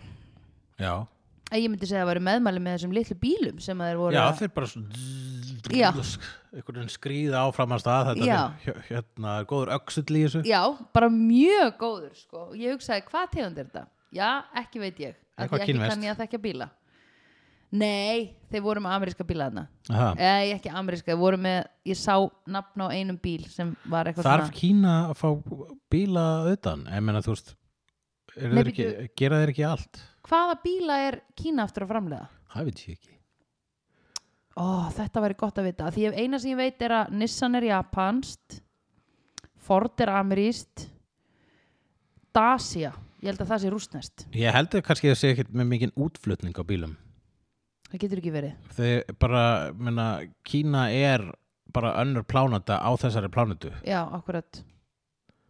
S1: Já,
S2: að ég myndi segja að það væri meðmæli með þessum litlu bílum sem að þeir voru
S1: já
S2: að-
S1: þeir bara svona
S2: Já.
S1: einhvern veginn skrýða áfram að stað þetta
S2: Já.
S1: er hjö- hérna er góður öxull í þessu
S2: Já, bara mjög góður sko. og ég hugsaði hvað tegund er þetta já, ekki veit ég Af
S1: Eitthvað
S2: því ekki
S1: kínverskt.
S2: kann ég að þekka bíla nei, þeir voru með ameríska bíla þarna
S1: Aha.
S2: eða ég ekki ameríska, þeir voru með ég sá nafn á einum bíl sem var eitthvað
S1: Þarf Kína að fá bíla utan? Ég meina þú veist eru
S2: Nei,
S1: þeir ekki, gera þeir ekki allt?
S2: svona hvaða bíla er Kína aftur að framlega?
S1: Það veit ég ekki
S2: Ó, þetta væri gott að vita af því ef eina sem ég veit er að Nissan er japanst Ford er ameríst Dacia ég held að það sé rústnest,
S1: Ég heldur kannski að sé ekkert með mikinn útflutning á bílum
S2: það getur ekki verið
S1: Þeir bara, meina, Kína er bara önnur plánata á þessari plánutu
S2: já, akkurat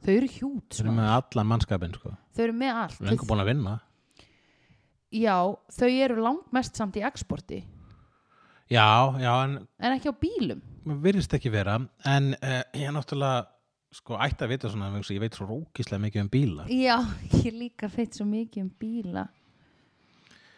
S2: þau eru hjút
S1: Þeir eru með allan mannskapin sko
S2: þau eru með allt
S1: Lengur búin að vinna
S2: já, þau eru langmest samt í exporti
S1: Já, já, en
S2: en ekki á bílum
S1: Mér virðist ekki vera en uh, ég náttúrulega sko ætti að vita svona vegna þess að ég veit svo rókislega mikið um bíla
S2: já, ég líka feit svo mikið um bíla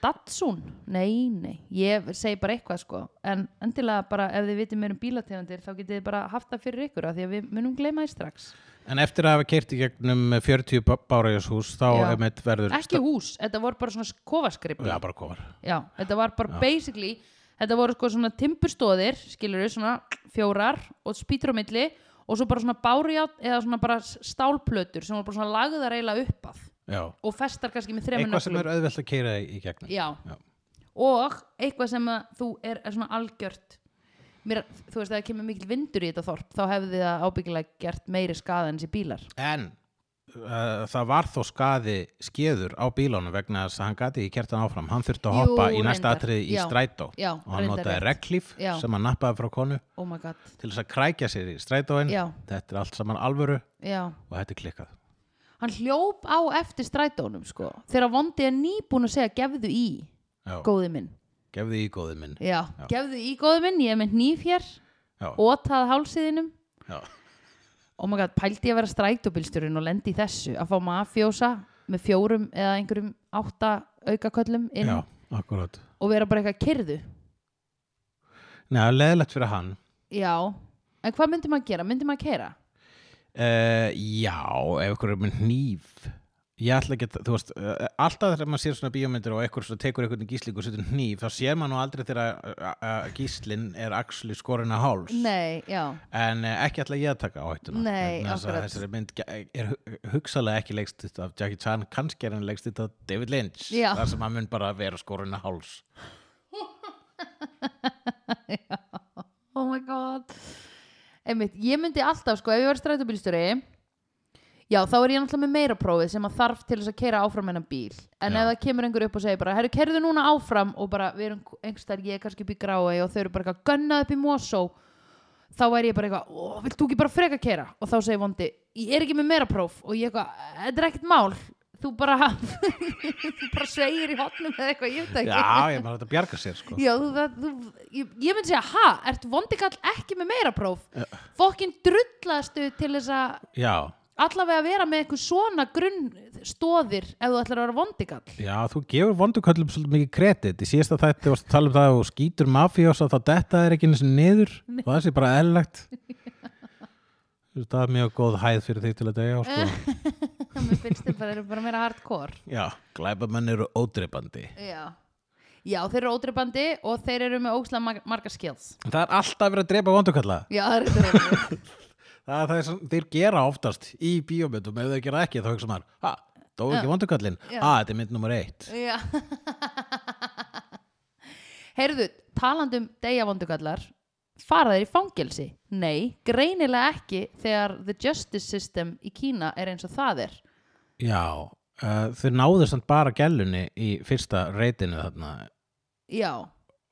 S2: Datsun, nei, nei ég segi bara eitthvað sko en endilega bara ef þið vitið mér um bílategundir þá getið þið bara haft það fyrir ykkur af því að við munum gleyma því strax
S1: en eftir að hafa kert í gegnum 40 báraðjúshús þá
S2: Já.
S1: einmitt verður
S2: ekki hús, þetta voru bara svona kofaskrip
S1: Já, bara kofar
S2: Já, þetta var bara basically þetta voru sko svona timburstóðir skilur við svona fjórar og spýtur á milli og svo bara svona bárjátt eða svona bara stálplötur sem voru bara svona lagðar eiginlega upp að
S1: Já.
S2: og festar kannski með þremun
S1: Eitthvað sem er auðvelt að keira í gegnum
S2: Já.
S1: Já.
S2: og eitthvað sem að þú er, er svona algjört Mér, þú veist að það kemur mikil vindur í þetta þorp þá hefði það ábyggilega gert meiri skaða en þessi bílar
S1: En uh, það var þó skaði skeður á bílunum vegna þess að hann gati ekki kert hann áfram hann þurfti að
S2: Jú,
S1: hoppa í næsta
S2: reyndar.
S1: atrið í
S2: Já.
S1: strætó
S2: Já,
S1: og hann
S2: reyndar
S1: notaði
S2: rétt.
S1: reglíf
S2: Já.
S1: sem hann nappaði frá konu
S2: oh my god,
S1: til þess að krækja sér í strætóin
S2: Já.
S1: þetta er allt saman alvöru
S2: já
S1: og þetta er klikkað
S2: hann hljóp á eftir strætónum sko, þegar vondi er nýbúin að segja gefðu í,
S1: Já.
S2: góði minn
S1: gefði í góðið minn
S2: Já, gefðu í góðu minn, ég er með nýf hér
S1: Já.
S2: ótað hálsiðinum
S1: Já.
S2: oh my god, pældi ég að vera strætóbílstjórinn og lendi í þessu að fá mafjósa með fjórum eða einhverjum átta aukaköllum inn
S1: Já, akkurat.
S2: og vera bara eitthvað kyrðu
S1: Nei, það er leðilegt fyrir hann.
S2: já, en hvað myndi maður gera? myndi maður keira?
S1: Uh, já, ef ykkur er með hníf. Ég ætla ekki að, þú veist, uh, alltaf þegar maður sér svona bíómyndir og ykkur svona tekur ykkur gísling og setur hníf, þá sér maður nú aldrei þegar uh, uh, gíslinn er axli skorinn að háls.
S2: nei, já,
S1: En uh, ekki alltaf ég að taka áhættuna.
S2: Nei,
S1: Vegna þess að
S2: akkurat.
S1: Þessari mynd ge- er hu- hugsalega ekki leggst þetta af Jackie Chan, kannski er hann leggst þetta af David Lynch.
S2: Já.
S1: Þar sem hann mun bara vera skorinn að háls.
S2: oh my god Einmitt, ég myndi alltaf sko ef ég verið strætóbílstjóri já þá er ég náttúrulega með meira prófið sem að þarf til þess að keira áfram hennan bíl en
S1: Já.
S2: ef það kemur einhver upp og segir bara herru kerðu núna áfram og bara við erum einhverstaðar ég er kannski upp í gráu og þau eru bara eitthvað gönnað upp í Mosó þá væri ég bara eitthvað, ó, vilt þú ekki bara freka keira og þá segir vondi, ég er ekki með meira próf og ég eitthvað, þetta er ekkert mál þú bara þú bara sveigir í hotnum eða eitthvað, ég veit það ekki
S1: Já, ég maður þetta bjarga sér, sko.
S2: Já, þú, það, þú, ég, ég myndi segja, ha, ert vondikall ekki með meira próf? Fokkin drullastu til þess að
S1: Já,
S2: allavega vera með eitthvað svona grunnstóðir ef þú ætlar að vera vondikall.
S1: já, þú gefur vonduköllum svolítið mikið kredit. Í síðasta þætti þú varst að tala um það og skýtur mafíós að þá detta er ekki eins og niður og það sé bara eðlægt. Það er mjög góð hæð fyrir þig til að degja, sko.
S2: Mér finnst þið bara, eru bara meira hardcore.
S1: Já, glæbamenn eru ódreipandi.
S2: Já. Já, þeir eru ódreifandi og þeir eru með ókslega mar marga skills.
S1: Það er alltaf verið að dreipa vondukölla.
S2: Já, það er þetta reyndar.
S1: Það, það er sem þeir gera oftast í bíómyndum, ef þeir gera ekki þá hugsa maður, ha, dó ekki vonduköllin,
S2: Já.
S1: að þetta er mynd nummer eitt.
S2: Já. Heyrðu, talandum deyjavondugallar, fara þeir í fangelsi? Nei, greinilega ekki þegar the justice system í Kína er eins og það er.
S1: Já, uh, þau náðu samt bara gælunni í fyrsta reytinu þarna
S2: Já,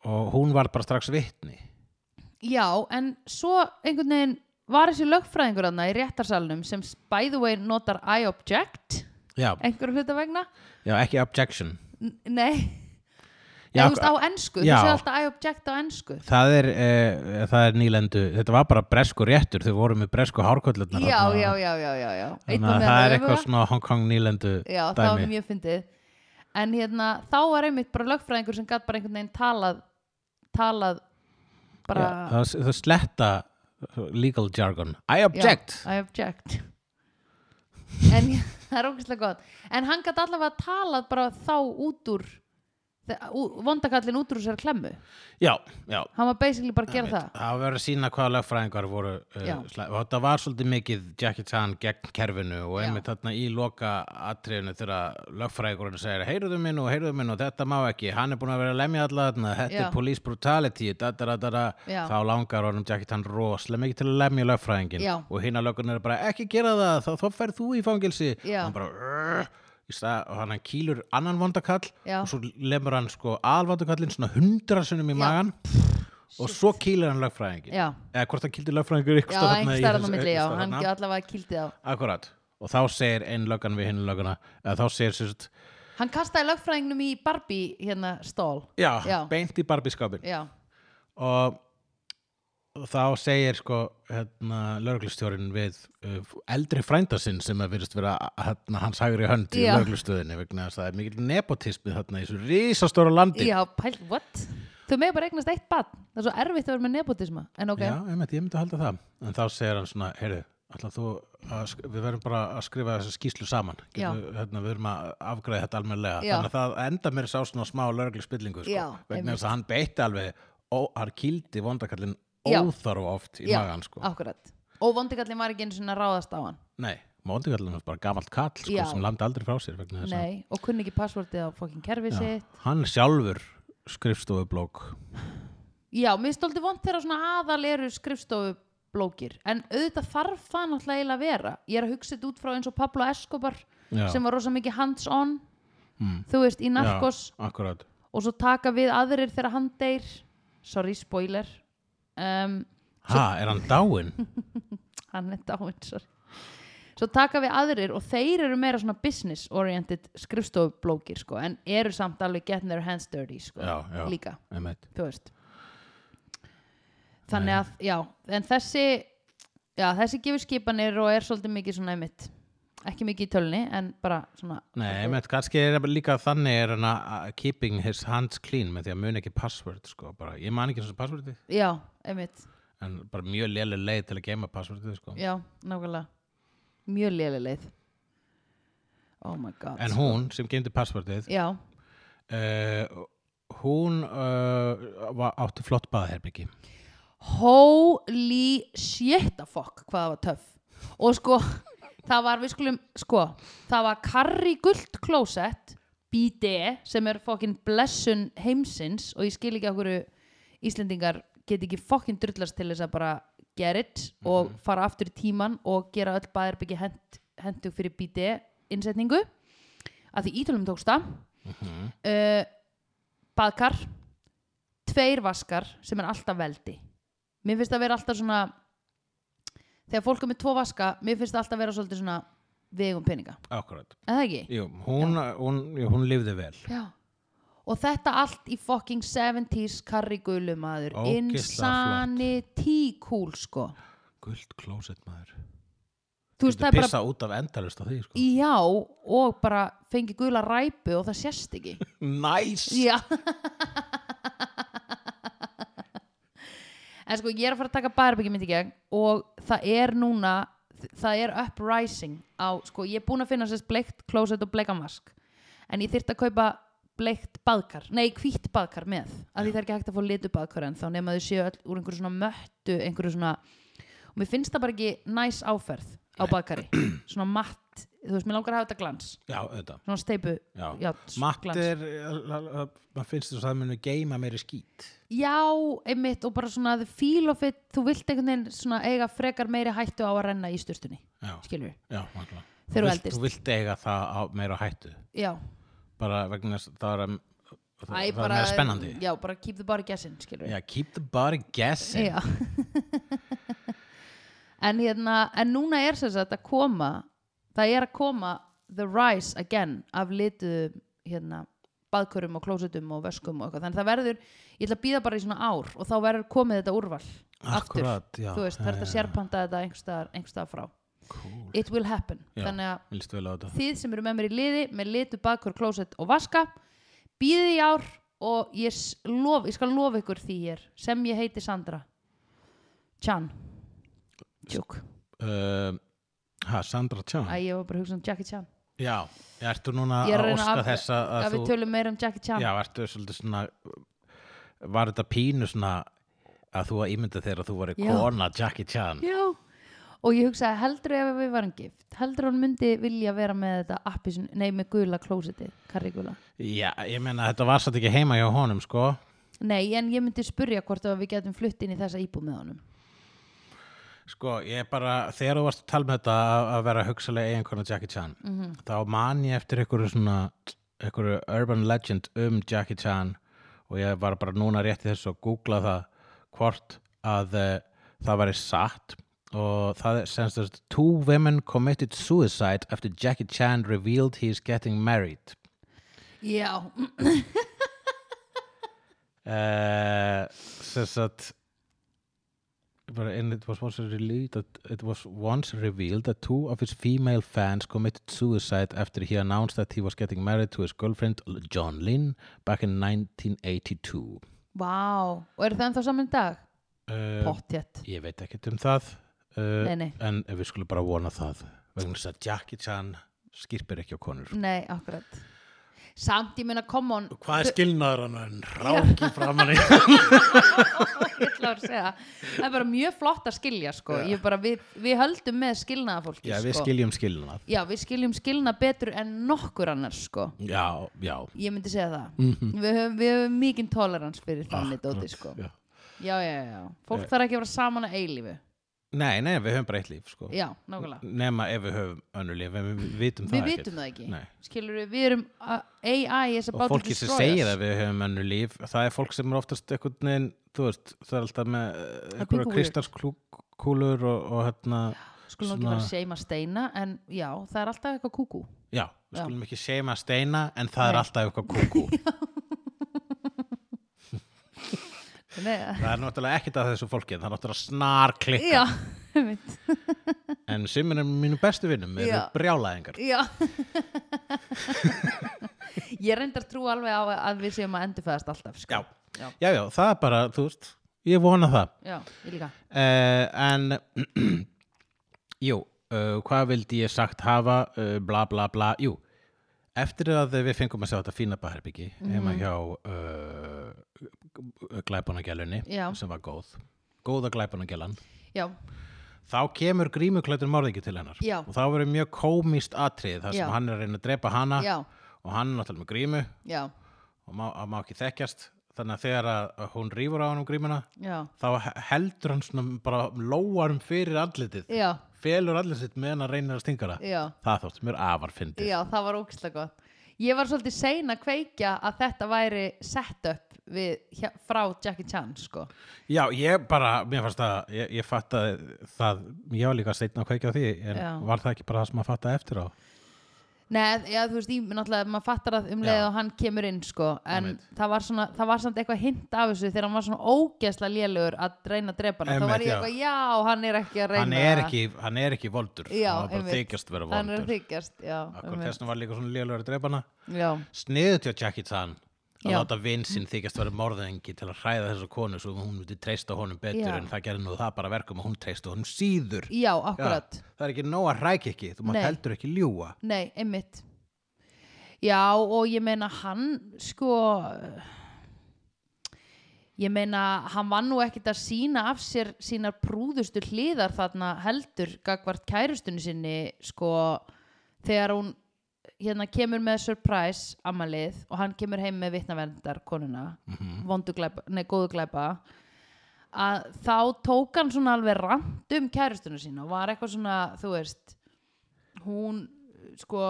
S1: og hún var bara strax vitni.
S2: já, en svo einhvern veginn var þessi lögfræðingur þarna í réttarsalnum sem by the way notar I object
S1: Já,
S2: einhverju hluta vegna?
S1: já ekki objection.
S2: N nei,
S1: Já,
S2: þú veist á ennsku, þú
S1: Já.
S2: sé alltaf I object á ennsku.
S1: það er, uh, það er nýlendu, þetta var bara bresku réttur, þau voru með bresku hárkvöldlunar.
S2: Já, já, já, já, já, já. Einn
S1: Þannig
S2: var
S1: að
S2: með
S1: það er
S2: öfuga.
S1: eitthvað svona Hong Kong nýlendu
S2: Já, það var
S1: dæmi.
S2: mjög fyndið En hérna, þá var einmitt bara lögfræðingur sem gætt bara einhvern veginn talað talað bara
S1: Já, það, það sletta legal jargon. I object.
S2: Já, I object En það er ógæslega gott En hann gætt allavega talað bara þá út úr þe- ú- vondakallinn út úr sér klemmu
S1: Já, já.
S2: Hann var basically bara að gera
S1: Einmitt.
S2: það
S1: Það var verið að sína hvaða lögfræðingar voru uh,
S2: Já.
S1: slæ- og þetta var svolítið mikið Jackie Chan gegn kerfinu og einmitt þarna í loka atriðinu þegar lögfræðingurinn segir heyruðu minn og heyruðu minn og þetta má ekki hann er búin að vera að lemja alla þarna þetta
S2: Já.
S1: er police brutality dadara, dadara.
S2: Já.
S1: þá langar honum Jackie Chan rosalega mikið til að lemja lögfræðingin
S2: Já.
S1: og hinn að lögurinn er bara ekki gera það þá, þá ferð þú í fangilsi og
S2: Já.
S1: hann bara "Urgh." Í stað, og hann hann kýlur annan vondakall
S2: Já.
S1: og svo lemur hann sko alvondakallin svona hundra sunnum í
S2: Já.
S1: magan og svo kýlir hann lögfræðingin
S2: Já.
S1: eða hvort hann kýldi lögfræðingur ykkur
S2: Já, einhvers staðar þarna á milli, já, hann gætt allavega kýldi þá
S1: akkurat og þá segir einn löggan við hinn löggana eða þá segir sérst
S2: Hann kastaði lögfræðingnum í Barbie hérna stól
S1: já,
S2: Já.
S1: beint í barbískapin
S2: Já,
S1: og þá segir sko hérna, lögreglustjórin við uh, eldri frænda sinn sem að virðist vera hérna, hans hægri hönd í
S2: Já.
S1: lögreglustöðinni vegna þess að það er mikill nepotismi þarna í þessu risastóra landi
S2: Já, pæl, what? Þau með bara eignast eitt barn Það er svo erfitt að vera með nepotisma En ok,
S1: Já, einmitt, ég myndi að halda það en þá segir hann svona, heyrðu ætla þú, að, sk- við verðum bara að skrifa þessa skýslu saman
S2: Já.
S1: Getum, hérna, við verðum að afgræða þetta almennilega
S2: Já.
S1: þannig að það enda mér sá svona smá lögreglu spillingu sko,
S2: Já,
S1: vegna
S2: einmitt.
S1: þess að hann beitti alveg og hann kýldi vondakallin
S2: Já.
S1: óþarf oft í
S2: Já,
S1: magan sko.
S2: akkurat Og vondikallin var ekki einu sinni að ráðast á hann
S1: nei, vondakallin var bara gamalt kall sko,
S2: Já.
S1: sem landi aldrei frá sér vegna þess að
S2: Nei, og kunni ekki passvortið á fokkin kerfi
S1: Já.
S2: sitt
S1: hann er sjálfur skrifstofublók
S2: Já, mér stóldi vond þegar svona aðal eru skrifstofublókir En auðvitað þarf það náttúrulega eiginlega að vera Ég er að hugsa þetta út frá eins og Pablo Escobar
S1: Já.
S2: sem var rosa mikið hands on
S1: Mm.
S2: Þú veist, í narkos
S1: Já, akkurat
S2: Og svo taka við aðrir þegar hann deyr Sorry, spoiler um,
S1: ha, er hann dáinn?
S2: hann er dáinn sorry. svo taka við aðrir og þeir eru meira svona business oriented skrifstofublókir sko, en eru samt alveg getting their hands dirty sko,
S1: já, já,
S2: líka,
S1: einmitt
S2: þú veist þannig að, já, en þessi já, þessi gefur skipanir og er svolítið mikið svona einmitt ekki mikið í tölni en bara svona
S1: Nei, menn, kannski er það líka þannig er hann að að keeping his hands clean með því að muna ekki password, sko, bara, ég man ekki eins og passwordi,
S2: já, einmitt,
S1: en bara mjög léleg leið til að geima passwordið, sko.
S2: já, nákvæmlega mjög lélega leið oh my god
S1: En hún sem geimdi passwordið,
S2: já,
S1: uh, hún uh, var, átti flott baðherbyggi.
S2: holy shit a fuck hvað það var töff og sko það var við skulum sko það var karri gult klósett BD sem er fokkin blessun heimsins og ég skil ekki okkur Íslendingar get ekki fokkin drullast til þess að bara get it og fara aftur í tíman og gera öll bæðarbyggi hent, hentug fyrir BD innsetningu að því ítölum tókst það uh, baðkar tveir vaskar sem er alltaf veldi mér finnst það að vera alltaf svona þegar fólk er með tvo vaska mér finnst það alltaf að vera svolítið svona vegum peninga,
S1: Akkurat.
S2: er það ekki?
S1: Jú, hún, eh, hún, jú, hún lifði vel.
S2: Já. og þetta allt í fucking 70s karrigulu maður
S1: Ógeðslega
S2: insanity cool sko
S1: Guld klósett maður.
S2: þú
S1: Þú veist
S2: veist það er bara
S1: Pissa út af endalust á því, sko.
S2: já og bara fengi gula ræpu og það sést ekki
S1: Næs! Nice.
S2: já en sko ég er að fara að taka bærbyggjum mitt í gegn og það er núna það er uprising á sko ég er búin að finna sérst bleikt klósett og bleikan vask en ég þyrfti að kaupa bleikt baðkar, nei hvítt baðkar með að því það er ekki hægt að fá litu baðkar en þá nema þau séu öll úr einhverju svona möttu einhverju svona, og mér finnst það bara ekki næs áferð á baðkari svona matt, þú veist, mér langar að hafa þetta glans
S1: Já, auðvitað.
S2: svona steipu
S1: Já.
S2: játs-
S1: Matt
S2: glans.
S1: er, eh, maður finnst þess að það muni geima meiri skít.
S2: Já, einmitt og bara svona the feel of it, þú vilt einhvern veginn svona eiga frekar meiri hættu á að renna í styrstunni
S1: Já,
S2: skilur við,
S1: já, makla.
S2: Þeir eru eldist.
S1: Þú vilt eiga það á meira hættu.
S2: já
S1: Bara vegna þess að það er, það,
S2: Æ,
S1: það er meira spennandi.
S2: Já, bara keep the bar guessing, skilur
S1: Já, keep the body guessing.
S2: Já En hérna, en núna er sem sagt að koma það er að koma the rise again af litu hérna baðkörum og klósutum og veskum og eitthvað þannig það verður, ég ætla að býða bara í svona ár og þá verður komið þetta úrval
S1: Akkúrat,
S2: aftur,
S1: já,
S2: þú veist,
S1: já,
S2: það er
S1: já,
S2: þetta
S1: já.
S2: sérpanta þetta einhverstaðar, einhverstaðar frá
S1: Cool.
S2: it will happen
S1: Já.
S2: þannig að
S1: Mér líst vel á þetta.
S2: þið sem eru með mér í liði með litu bakur, klósett og vaska býðið í ár og ég, s- lof, ég skal lofa ykkur því hér sem ég heiti Sandra Chan Júk,
S1: Uh, ha, Sandra Tjón.
S2: að ég var bara að hugsa um Jackie Chan
S1: Já, ertu núna
S2: Ég er
S1: að
S2: að reyna
S1: óska
S2: að-
S1: þess að,
S2: að
S1: að
S2: við tölum meira um Jackie Chan
S1: Já, ertu svolítið svona Var þetta pínu svona að þú að ímynda þér að þú væri
S2: Já.
S1: kona Jackie Chan
S2: Já. og ég hugsaði heldur ef við varum gift heldur hann myndi vilja vera með þetta appi, nei með gula klósetti karrigula
S1: Já, ég meina þetta var satt ekki heima hjá honum sko
S2: Nei, en ég myndi spurja hvort að við getum flutt inn í þessa íbúð með honum
S1: Sko, ég bara, þegar þú varst að tala með þetta að, að vera hugsalega eiginkona Jackie Chan þá man ég eftir einhverju svona einhverju urban legend um Jackie Chan og ég var bara núna rétt í þessu að googla það hvort að uh, það væri satt og það er semst að two women committed suicide after Jackie Chan revealed he is getting married
S2: Já,
S1: uh, says that but and it was once revealed that it was once revealed that two of his female fans committed suicide after he announced that he was getting married to his girlfriend John Lynn back in 1982.
S2: Vá, og eru það ennþá saman í dag?
S1: Uh,
S2: Pottjett
S1: ég veit ekkert um það uh,
S2: Nei, nei.
S1: en við skulum bara vona það vegna þess að Jackie Chan skirpir ekki á konur.
S2: Nei, akkurat Samt ég meina, come on
S1: Hvað er skilnaður hann en ráki framan í?
S2: Ég ætla að segja það. Það er bara mjög flott að skilja, sko Ég bara, við, við höldum með skilnaða fólki,
S1: Já,
S2: sko
S1: við skiljum skilnað.
S2: Já, við skiljum skilna betur en nokkur annars, sko
S1: Já, já.
S2: Ég myndi segja það Við höfum, við höfum mikinn tolerans fyrir þannig dóti, sko
S1: Mhm. já. Eh.
S2: Já, já, já, já Fólk þarf ekki að vera saman að eilífu
S1: Nei, nei, við höfum bara eitt líf sko.
S2: Já, nákvæmlega
S1: nema ef við höfum önnur líf en við vitum það
S2: Við
S1: ekkert.
S2: vitum það ekki
S1: Nei.
S2: Skilur við, við erum uh, AI is
S1: og
S2: about to
S1: fólki sem
S2: destroy us.
S1: segir að við höfum önnur líf það er fólk sem er oftast eitthvað neginn, þú veist, það er alltaf með eh,
S2: er
S1: einhverja
S2: pínu weird.
S1: kristarskúlur og, og hérna
S2: skulum ekki
S1: Svona-
S2: bara seima steina en já, það er alltaf eitthvað kúkú
S1: já, við skulum ekki seima steina en það er
S2: Nei.
S1: alltaf eitthvað kúkú
S2: Nei, eh.
S1: það er náttúrulega ekkert að þessu fólki en það er náttúrulega snar
S2: já, Einmitt.
S1: en sumir af mínu bestu vinnum eru
S2: Já.
S1: brjálæðingar
S2: Já Ég reyndar trú alveg á að við séum að endurfæðast alltaf sko.
S1: já.
S2: Já.
S1: já, já, það er bara, þú veist ég vona það
S2: Já, ég líka
S1: uh, en jú, uh, hvað vildi ég sagt hafa, uh, bla bla bla jú, eftir að við fengum að sjá þetta fína baherbyggi heima
S2: Mhm.
S1: hjá uh, glæpunagjælunni
S2: Já.
S1: sem var góð góða glæpunagjælan
S2: Já,
S1: þá kemur grímuklætur morðingi til hennar
S2: Já.
S1: og þá verður mjög komist atrið þar sem
S2: Já.
S1: hann er að reyna að drepa hana
S2: Já.
S1: og hann er náttúrulega með grímu
S2: já,
S1: og má, að má ekki þekkjast þannig að þegar að að hún rýfur á hann um grímuna
S2: já
S1: þá he- heldur hann svona bara lóarum fyrir andlitið
S2: Já,
S1: felur allir sitt meðan hann reynir að stinga það
S2: já,
S1: það þótti mér afar fyndið
S2: já, það var ógislega gott Ég var svolítið sein að kveikja að þetta væri set up við, hjá, frá Jackie Chan sko.
S1: já, ég bara, mér fannst að ég, ég fattaði það, ég var líka setna að kveikja á því en
S2: Já.
S1: var það ekki bara það sem maður fattaði eftir á
S2: Nei, já, þú veist, ég náttúrulega, maður fattar að um leið
S1: Já.
S2: og hann kemur inn, sko, en
S1: Einmitt.
S2: það var svona, það var samt eitthvað hint af þessu þegar hann var svona ógeðslega lélugur að reyna að drepa hann, þá var
S1: Einmitt,
S2: ég
S1: já.
S2: eitthvað, já, hann er ekki að reyna
S1: hann er, ekki, hann er ekki voldur
S2: Já,
S1: hann var bara
S2: einmitt.
S1: þykjast vera
S2: hann er að
S1: voldur
S2: þykjast, já,
S1: akkur
S2: einmitt.
S1: þessna var líka svona lélugur að drepa hana
S2: já,
S1: sniðu til að Jackie Chan að
S2: Já.
S1: láta vinn sinn þykjast vera morðengi til að hræða þessu konu svo hún myndi treysta honum betur
S2: Já.
S1: en það gerði nú það bara að verkum að hún treysta honum síður
S2: já, akkurat
S1: það er ekki nóg að rækja ekki, þú
S2: Nei.
S1: maður heldur ekki ljúa
S2: Nei, einmitt Já, og ég meina hann sko ég meina hann var nú ekkit að sína af sér sínar prúðustu hliðar þarna heldur gagvart kærustunni sinni sko þegar hún hérna kemur með surprise ammalið og hann kemur heim með vitnaverndar konuna, mm glæpa, nei, góðu glæpa að þá tók hann svona alveg rand um kærustunni sína og var eitthvað svona, þú veist hún sko,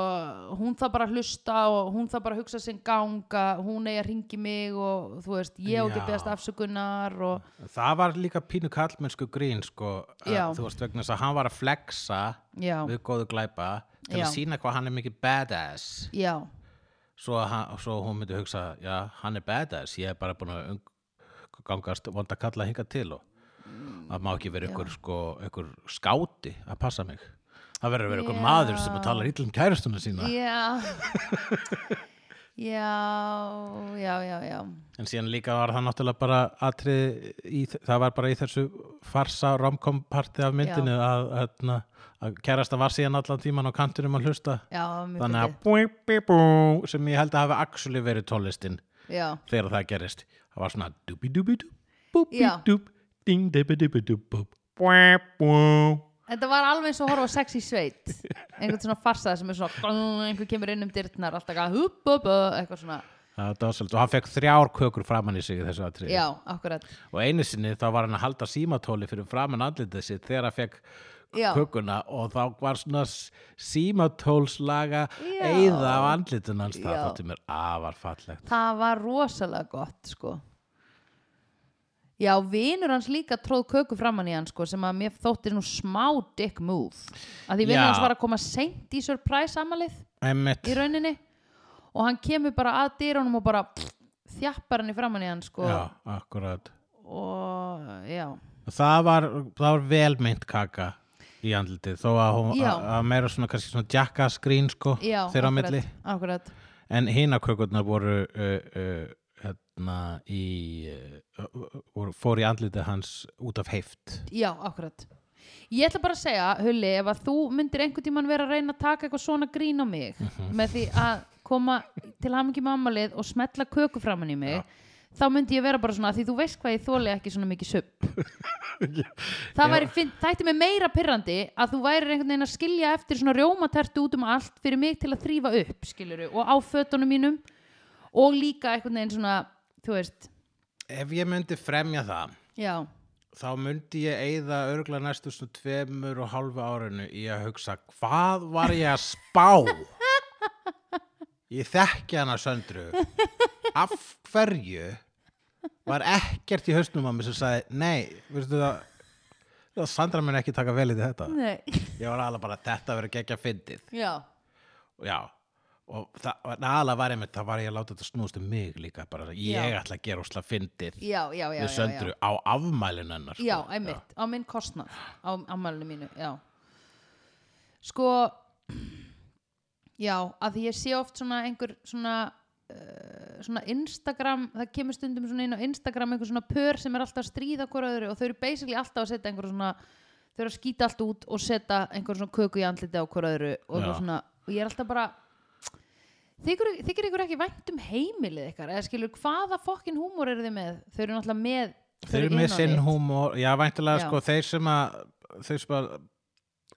S2: hún það bara að hlusta og hún það bara að hugsa sinn ganga hún eigi að ringi mig og þú veist ég og ekki
S1: Já.
S2: beðast afsökunar og
S1: Það var líka pínu kallmennsku grín sko, að
S2: Já.
S1: þú veist vegna þess að hann var að flexa
S2: já,
S1: við góðu glæpa til
S2: Já.
S1: að sína hvað hann er mikið badass
S2: já,
S1: svo, að hann, svo hún myndi hugsa já, hann er badass, ég er bara búin að ung- gangast vonda kalla hinga til og það má ekki vera ykkur, sko, ykkur skáti að passa mig það verður að vera ykkur
S2: Já.
S1: maður sem að tala ítlum kærustuna sína
S2: já já já, já, já
S1: en síðan líka var það náttúrulega bara atrið í, það var bara í þessu farsa romcom parti af myndinu að, að, að kærasta var síðan allan tíman á kantinum að hlusta
S2: já, mjög
S1: þannig að
S2: fyndið.
S1: búi, búi, búi, sem ég held að hafi actually verið tónlistin
S2: já,
S1: þegar það gerist það var svona dubi dubi dub búbi
S2: Já.
S1: dub ding dubi dubi dub búb búi búi
S2: þetta var alveg eins og að horfa á sex í sveit einhvern svona farsað sem er svona einhver kemur inn um dyrtnar alltaf að hup, hup, hup, eitthvað svona
S1: það var svolítið og hann fekk þrjár kökur framan í sig í þessu atrið
S2: já, akkurat
S1: og einu sinni þá var hann að halda símatóli fyrir framan andlitið sitt þegar hann fekk
S2: Já.
S1: kökuna og þá var svona s- símatólslaga
S2: Já.
S1: eyða á andlitun hans það
S2: Já.
S1: þótti mér afar fallegt
S2: það var rosalega gott sko já, vinur hans líka tróð köku framann í hann sko sem að mér þótti nú smá dick move að því vinur
S1: Já.
S2: hans var að koma seint í surprise amalið
S1: Einmitt.
S2: í rauninni og hann kemur bara að dýrunum og bara þjappar hann í framann í hann sko
S1: Já, akkurat
S2: og já,
S1: það var, það var velmynd kaka í andlitið þó að hún
S2: Já.
S1: að- að meira svona kannski svona jakka skrín sko
S2: já
S1: þeirra á milli
S2: akkurat,
S1: en hina kökurnar voru uh, uh, hérna í uh, voru, fór í andlitið hans út af heift
S2: já, akkurat ég ætla bara að segja, Hulli ef að þú myndir einhvern tímann vera að reyna að taka eitthvað svona grín á mig með því að koma til hamingi mammalið og smetla köku framann í mig þá myndi ég vera bara svona, því þú veist hvað ég þóli ekki svona mikið supp það væri, finn, þætti mig meira pyrrandi að þú værir einhvern veginn að skilja eftir svona rjómatertu út um allt fyrir mig til að þrýfa upp, skiljuru, og á fötunum mínum og líka einhvern veginn svona þú veist,
S1: ef ég myndi fremja það
S2: já,
S1: þá myndi ég eigða örgla næstu svona tveimur og hálfu árinu í að hugsa hvað var ég að spá ég þekki hana söndru af hverju var ekkert í hausnum á mér sem sagði nei, veistu það það Sandra mun ekki taka vel í þetta
S2: nei
S1: ég var alveg bara þetta verið gegja fyndið
S2: já,
S1: já, og það en aðalega var einmitt, það var ég að láta þetta snúðast um mig líka bara, ég
S2: Já.
S1: ætla að gera ósla fyndið
S2: já, já, já,
S1: við
S2: já, já.
S1: söndru á afmælinu hennar sko.
S2: já, einmitt, á minn kostnað á ammælinu mínu, já sko já, að því ég sé oft svona einhver svona uh, svona Instagram, það kemur stundum svona inn á Instagram einhver svona pör sem er alltaf að stríða hver öðru og þau eru basically alltaf að setja einhver svona þau eru að skýta allt út og setja einhver svona köku í andliti á hver öðru og,
S1: Já.
S2: eitthvað svona, og ég er alltaf bara Þykir, þykir ykkur ekki vænt um heimilið ykkar eða skilur hvaða fokkin húmor eru þið með þau eru náttúrulega með
S1: Þeir eru með
S2: inn á
S1: sinn
S2: við.
S1: húmor, já, væntulega
S2: Já.
S1: sko, þeir sem að, þeir sem að,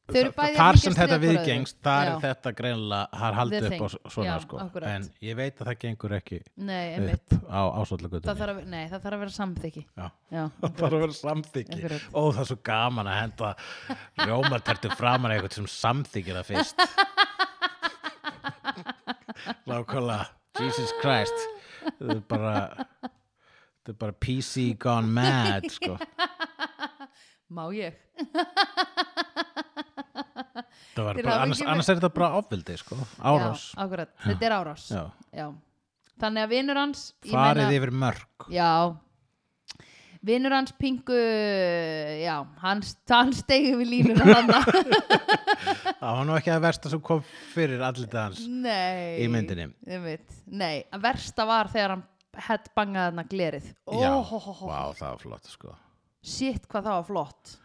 S2: Þau eru bæði að
S1: þar
S2: líkjast
S1: sem
S2: við
S1: þetta
S2: hvor öðru.
S1: viðgengst, þar
S2: Já.
S1: er þetta greinilega, það er haldið
S2: The
S1: upp á
S2: thing.
S1: svona
S2: Já,
S1: sko,
S2: akkurat.
S1: en ég veit að það gengur ekki
S2: Nei, einmitt.
S1: upp á
S2: Það
S1: ásvöldlegutunni.
S2: þarf, að, nei, það þarf að vera samþykki.
S1: Já.
S2: Já.
S1: Það þarf að vera samþykki.
S2: Akkurat.
S1: Ó, það er svo gaman að henda rjómatertu framan eitthvað sem samþykir það fyrst. Lákvæmlega, Jesus Christ. Þetta er bara, þetta er bara PC gone mad, sko.
S2: Má ég?
S1: Það var
S2: Þeir
S1: bara,
S2: hafa
S1: annars,
S2: ekki verið-
S1: annars er þetta bara ofvildi, sko, árás.
S2: Já, akkurat. Þetta er árás.
S1: Já.
S2: Þannig að vinur hans... ég
S1: Farið
S2: meina-
S1: yfir mörg.
S2: Já. Vinur hans pingu, já, hans, hann stegi við línuna þannig.
S1: Það var nú ekki að versta sem kom fyrir allir hans.
S2: Nei.
S1: Í myndinni.
S2: Einmitt. Nei, að versta var þegar hann hett bangaði hann að glerið.
S1: Já,
S2: Oh,
S1: vá, það var flott, sko.
S2: Shit, hvað það var flott.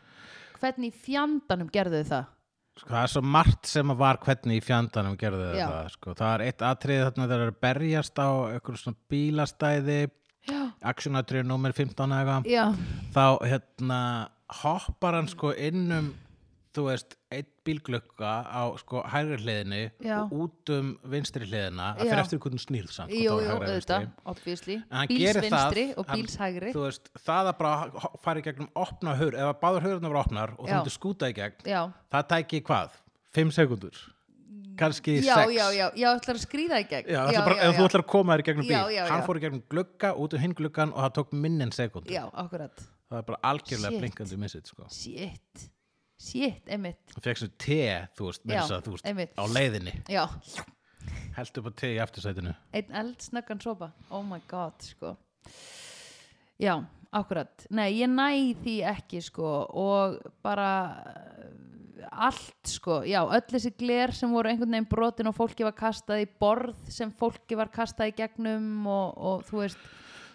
S2: Hvernig í fjandanum gerðu þau það?
S1: Sko, það er svo margt sem að var hvernig í fjandanum gerðu
S2: Já.
S1: þetta, sko. Það er eitt atrið þarna þegar þeir eru að berjast á einhverjum svona bílastæði, aksjónatrið númer 15 eða eitthvað.
S2: Já,
S1: Þá, hérna, hoppar hann sko inn um, þú veist, eitt bílglögga á sko hægri hliðinu
S2: Já.
S1: og út um vinstri hliðina. Það
S2: Já.
S1: fyrir eftir hvernig snýrð samt. hvort það
S2: jú,
S1: var
S2: jú,
S1: hægri eða vinstri.
S2: auðvitað, obviously.
S1: En hann gerir það,
S2: Bílsvinstri og
S1: hann-
S2: bílshægri.
S1: Þú veist, það að bara fara í gegnum opna hur, ef að báður hurðarnar voru opnar og þú
S2: Já.
S1: myndir skúta í gegn,
S2: Já,
S1: það tæki hvað? 5 sekundur? Kanski 6?
S2: já, já, já, já, ætlar að skrýða í gegn.
S1: Já, já, bara, ef þú ætlar að koma þér í gegnum bíl,
S2: Já, já,
S1: hann
S2: já.
S1: fór í gegnum glugga, út um hinn gluggan og það tók minn en sekund.
S2: Já, akkurat.
S1: Það er bara algjörlega
S2: Shit.
S1: blinkandi missið, sko.
S2: Shit, shit, einmitt.
S1: Það fekk svo te, þú veist, með
S2: Já,
S1: þess að, þú veist,
S2: einmitt.
S1: á leiðinni,
S2: Já,
S1: held upp á te í aftursætinu.
S2: einn eldsnöggan sopa. Oh my god, sko. Já, akkurat. Nei, ég næ því ekki, sko, og bara eh, allt, sko. Já, öll þessi gler sem voru einhvern veginn brotin og fólki var kastað í borð sem fólki var kastað í gegnum og, og þú veist,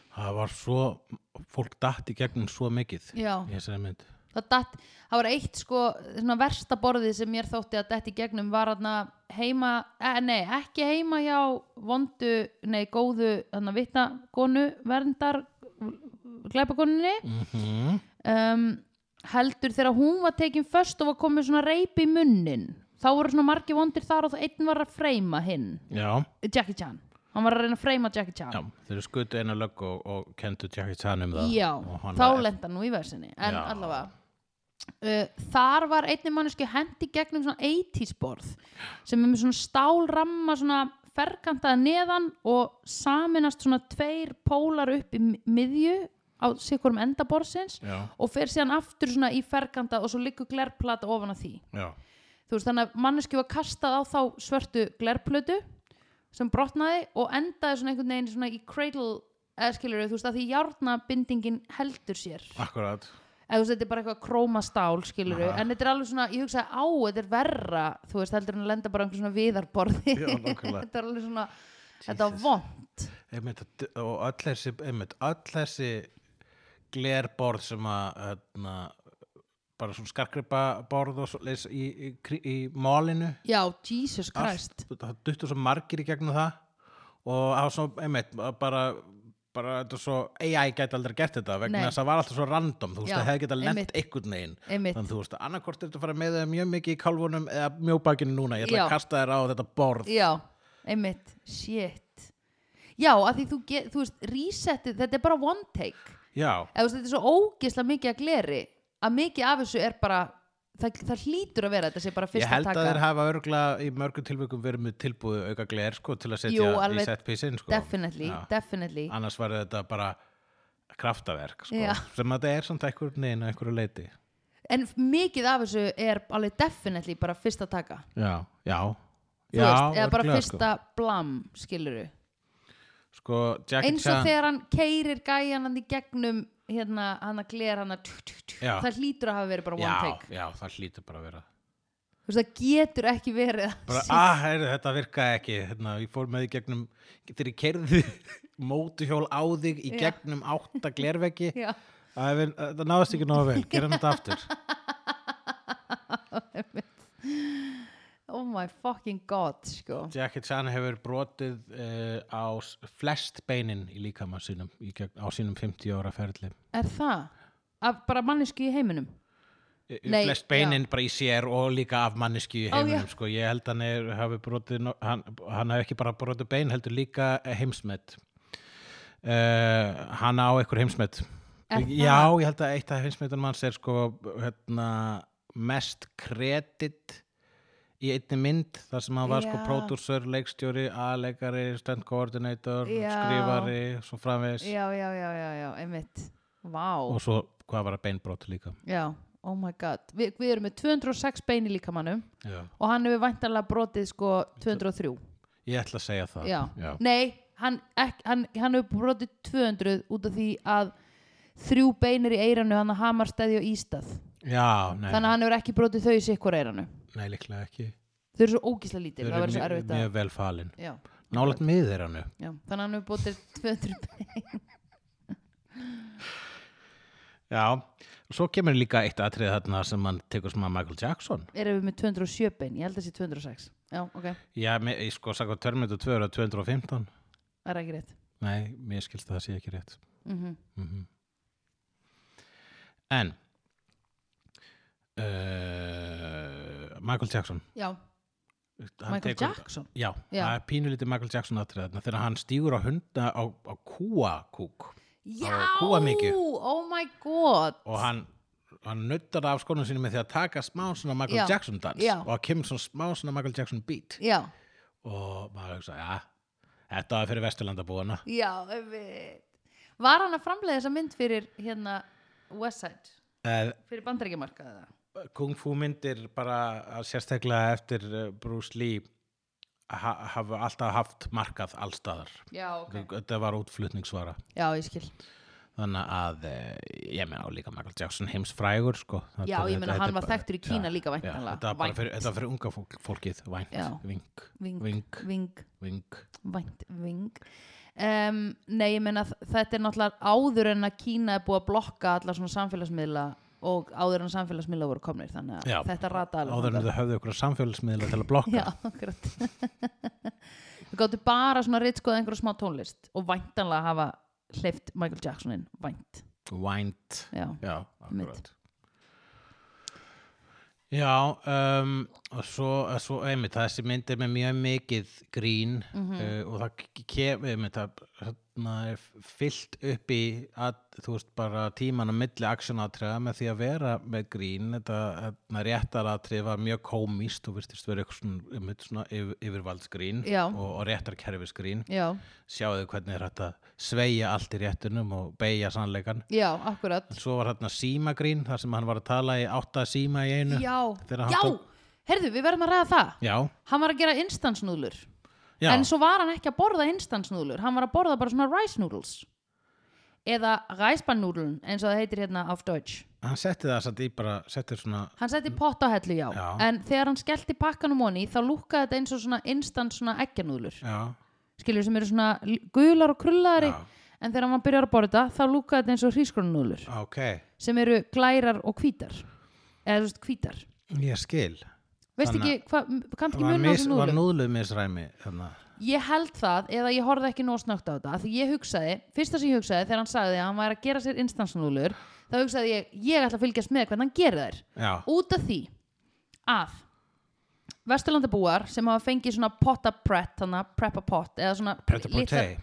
S1: Það var svo, fólk datt í gegnum svo mikið.
S2: já.
S1: Ég sér að mynd.
S2: það, datt, það var eitt sko svona versta borðið sem mér þótti að detti gegnum var hann heima e, nei, ekki heima hjá vondu, nei, góðu hann að vitna konu, verndar glæpakoninni
S1: Mm
S2: um, heldur þegar hún var tekin föst og var komið svona reip í munnin þá voru svona margi vondir þar og þá einn var að freyma hinn,
S1: Já,
S2: Jackie Chan hann var að reyna að freyma Jackie Chan
S1: já, þeir eru skutu einu lögg og, og kentu Jackie Chan um það.
S2: Já,
S1: og hann
S2: þá
S1: var-
S2: lenda nú í versinni En
S1: Já.
S2: allavega uh, Þar var einni manneski hendi gegnum svona 80s borð sem er með svona stálramma svona ferkantaða neðan og saminast svona tveir pólar upp í mi- miðju á sikkurum endaborðsins
S1: Já,
S2: og fer síðan aftur svona í ferkanta og svo liggur glerplata ofan að því
S1: já,
S2: þú veist þannig að manneski var kastað á þá svörtu glerplötu sem brotnaði og endaði svona einhvern veginn svona í cradle eða skilur þú veist að því járnabindingin heldur sér
S1: akkurat.
S2: eða þú veist þetta er bara eitthvað krómastál skilur
S1: Aha.
S2: en þetta er alveg svona, ég hugsaði á þetta er verra þú veist heldur en að lenda bara á einhver svona viðarborði
S1: Já, nákvæmlega.
S2: þetta er alveg svona þetta var
S1: Jesus.
S2: vond
S1: Einmitt, að- og öll þessi, einmitt, öll þessi glerborð sem að hérna, bara svona skarkripa borð og svo leys í, í, kri- í málinu
S2: já, Jesus Christ
S1: Allt- það duttur svo margir í gegnum það og það var svo, einmitt, bara bara þetta er svo, AI gæti aldrei gert þetta vegna
S2: Nei.
S1: þess að það var alltaf svo random þú veist,
S2: Já,
S1: það hefði getað lent
S2: einmitt.
S1: einhvern veginn
S2: Einmitt.
S1: þannig þú veist, annarkvort er þetta að fara með þau mjög mikið í kálfunum eða mjóbakinu núna, ég ætla
S2: Já.
S1: að kasta þér á þetta borð
S2: já, einmitt, shit já, að því þú, ge- þú veist resetið, þetta er bara one take
S1: já,
S2: eða þú veist, þetta er svo ógisla mikið að gleri að mikið af þessu er bara það, það hlýtur að vera þetta sé bara
S1: ég
S2: fyrst
S1: held
S2: að
S1: að þeir
S2: taka
S1: hafa örgulega í mörgum tilvikum verið með tilbúðu auka gler sko, til að setja
S2: Jú, alveg,
S1: í set písin sko.
S2: definitely,
S1: Já.
S2: definitely
S1: annars var þetta bara kraftaverk sko.
S2: Já.
S1: sem að þetta er samt ekkur neina einhverju leiti
S2: en mikið af þessu er alveg definitely bara fyrst að taka
S1: já, já, Já,
S2: þú veist, eða bara
S1: örugglega, sko.
S2: fyrsta blam skiluru,
S1: sko, Jackie
S2: eins og
S1: Chan
S2: þegar hann keirir gæjan hann í gegnum hérna, hann að glera hann að
S1: Já.
S2: það hlýtur að hafa verið bara one
S1: já,
S2: take
S1: já, það hlýtur bara að vera
S2: þú veist, það getur ekki verið að
S1: bara, ah, heyrðu, þetta virkaði ekki hérna, ég fór með í gegnum þegar ég kerði mótuhjól á þig í
S2: Já.
S1: gegnum átta glerveggi
S2: já,
S1: það er- það náðast ekki nógu vel, gerum þetta aftur
S2: oh my fucking god sko.
S1: Jackie Chan hefur brotið uh, á s- flest beinin í líkama sínum í gegn, á sínum 50 ára ferli
S2: er það? Af bara mannesku í heiminum
S1: Eh,
S2: Nei,
S1: flest beinin bara í sér og líka af manneski í
S2: Ó,
S1: heiminum
S2: já.
S1: sko. ég held hann er, hafi brotið no- hann, hann hafi ekki bara brotið bein heldur líka heimsmet uh, hann á einhver heimsmet
S2: Er það?
S1: já, ég held að eitt af heimsmetunum hans er sko hérna, mest kredit í einni mynd þar sem hann var sko
S2: Já.
S1: pródúsör, leikstjóri, aðleikari stand coordinator,
S2: Já.
S1: skrifari svo framvegis
S2: já, já, já, já, já, einmitt vá,
S1: og svo hvað var að beinbrot líka
S2: já, oh my god Vi, við erum með 206 bein í líkamannum
S1: já.
S2: og hann hefur væntanlega brotið sko 203
S1: ég ætla að segja það
S2: já.
S1: Já.
S2: nei, hann, ek, hann, hann hefur brotið 200 út af því að þrjú beinir í eiranu hann að hamar stæði og ístað
S1: Já, nei,
S2: þannig að hann hefur ekki brotið þau í sikkur eiranu
S1: nei, líklega ekki
S2: þau eru svo ógísla lítil,
S1: Þeir
S2: það
S1: eru
S2: verður svo
S1: mjög,
S2: erfitt að
S1: mjög vel falin
S2: já,
S1: Nálægt miður þeirra nú
S2: já, þannig að hann hefur brotið 200 bein
S1: Já, svo kemur líka eitt atrið þarna sem hann tekur sem að Michael Jackson
S2: erum við með 207 bein, ég held að það sé 206 já, ok,
S1: Já, me- ég sko sagði að Terminator 2 er að 215
S2: það er ekki rétt
S1: Nei, mér skilst að það sé ekki rétt
S2: mm
S1: En uh, Michael Jackson
S2: já,
S1: hann
S2: Michael
S1: tekur-
S2: Jackson
S1: Já,
S2: Já.
S1: það er pínulítið Michael Jackson atrið þarna þegar hann stígur á hunda á, á kúakúk
S2: já,
S1: kúamykju.
S2: oh my god
S1: og hann, hann nuttar af skónum sínum með því að taka smá svona Michael
S2: Já,
S1: Jackson dans
S2: já.
S1: og það kemur svona smá svona Michael Jackson beat
S2: já,
S1: og maður hugsa, já, þetta er fyrir Vesturlandabúana
S2: já, einmitt. var hann að framleiða þessa mynd fyrir hérna Westside,
S1: uh,
S2: fyrir bandaríkjumarkaða
S1: Kung Fu myndir bara að sérstaklega eftir eh, Bruce Lee ha hafa alltaf haft markað allstaðar
S2: já, ok,
S1: þetta var útflutningsvara
S2: já, ég skil
S1: þannig að eh, ég meina á líka Michael Jackson heimsfrægur sko.
S2: já, ég
S1: þetta
S2: meina
S1: er
S2: hann var
S1: bara-
S2: þekktur í Kína
S1: Já,
S2: líka
S1: já,
S2: væntanlega
S1: þetta var bara
S2: Vænt.
S1: fyrir, þetta var fyrir unga fólk, fólkið vænt,
S2: Já.
S1: vink,
S2: Vink.
S1: vink,
S2: ving,
S1: vink.
S2: vænt, ving um, nei, ég meina þ- þetta er náttúrulega áður en að Kína er búið að blokka alla svona samfélagsmiðla og áður en samfélagsmiðla voru komnir þannig að
S1: Já,
S2: þetta rata alveg
S1: áður en
S2: þangað.
S1: þau höfðu ykkur samfélagsmiðla til að blokka
S2: Já, akkurat Þau gáttu bara svona ritskoða einhverju smá tónlist og væntanlega hafa hleyft Michael Jacksonin, vænt
S1: Wind
S2: Já,
S1: Já,
S2: Mitt.
S1: akkurat Já, um, og svo, og svo einmitt, þessi mynd er með mjög mikið grín
S2: Mhm.
S1: uh, og það kemur einmitt, það hérna, er fyllt upp í að, þú veist, bara tíman á milli aksjónatriða með því að vera með grín, þetta hérna, réttaratrið var mjög komíst og virtist verið eitthvað svona, einmitt, svona yfir, yfirvaldsgrín
S2: Já.
S1: og, og réttarkerfisgrín
S2: já,
S1: sjáðu hvernig er hægt að sveigja allt í réttunum og beigja sannleikan
S2: já, akkurat
S1: en svo var þarna símagrín þar sem hann var að tala í átta síma í einu
S2: Já,
S1: Þegar hann
S2: já,
S1: tók-
S2: heyrðu, við verðum að ræða það
S1: já,
S2: Hann var að gera instansnúðlur
S1: já,
S2: En svo var hann ekki að borða instansnúðlur, hann var að borða bara svona rice noodles. Eða ræspannúdlun, eins og það heitir hérna auf Deutsch.
S1: hann setti það samt í bara setti svona,
S2: Hann setti pott á hellu, já.
S1: Mm. Já.
S2: En þegar hann skellti pakkanum honi, þá lúkkaði þetta eins og svona instant svona eggjanúðlur.
S1: já,
S2: Skiljum sem eru svona l- gular og krullari.
S1: Já.
S2: En þegar hann byrjar að borða þetta, þá lúkkaði þetta eins og hrískronunúðlur.
S1: ok
S2: Sem eru glærar og hvítar. Eða þú veist, hvítar.
S1: ég skil
S2: Veist
S1: Þannig
S2: ekki, hvað, kannst ekki
S1: var,
S2: mjög
S1: mis,
S2: náttúrulega
S1: var
S2: núðlur?
S1: núðluð misræmi þarna.
S2: Ég held það eða ég horfði ekki nóg snögt á þetta af því ég hugsaði, fyrsta sem ég hugsaði þegar hann sagði að hann væri að gera sér instansnúlur þá hugsaði ég, ég ætla að fylgjast með hvernig hann gerir þær
S1: já,
S2: út af því að Vesturlandabúar sem hafa fengið svona potta prett, þannig að preppa pott eða svona
S1: pretaportei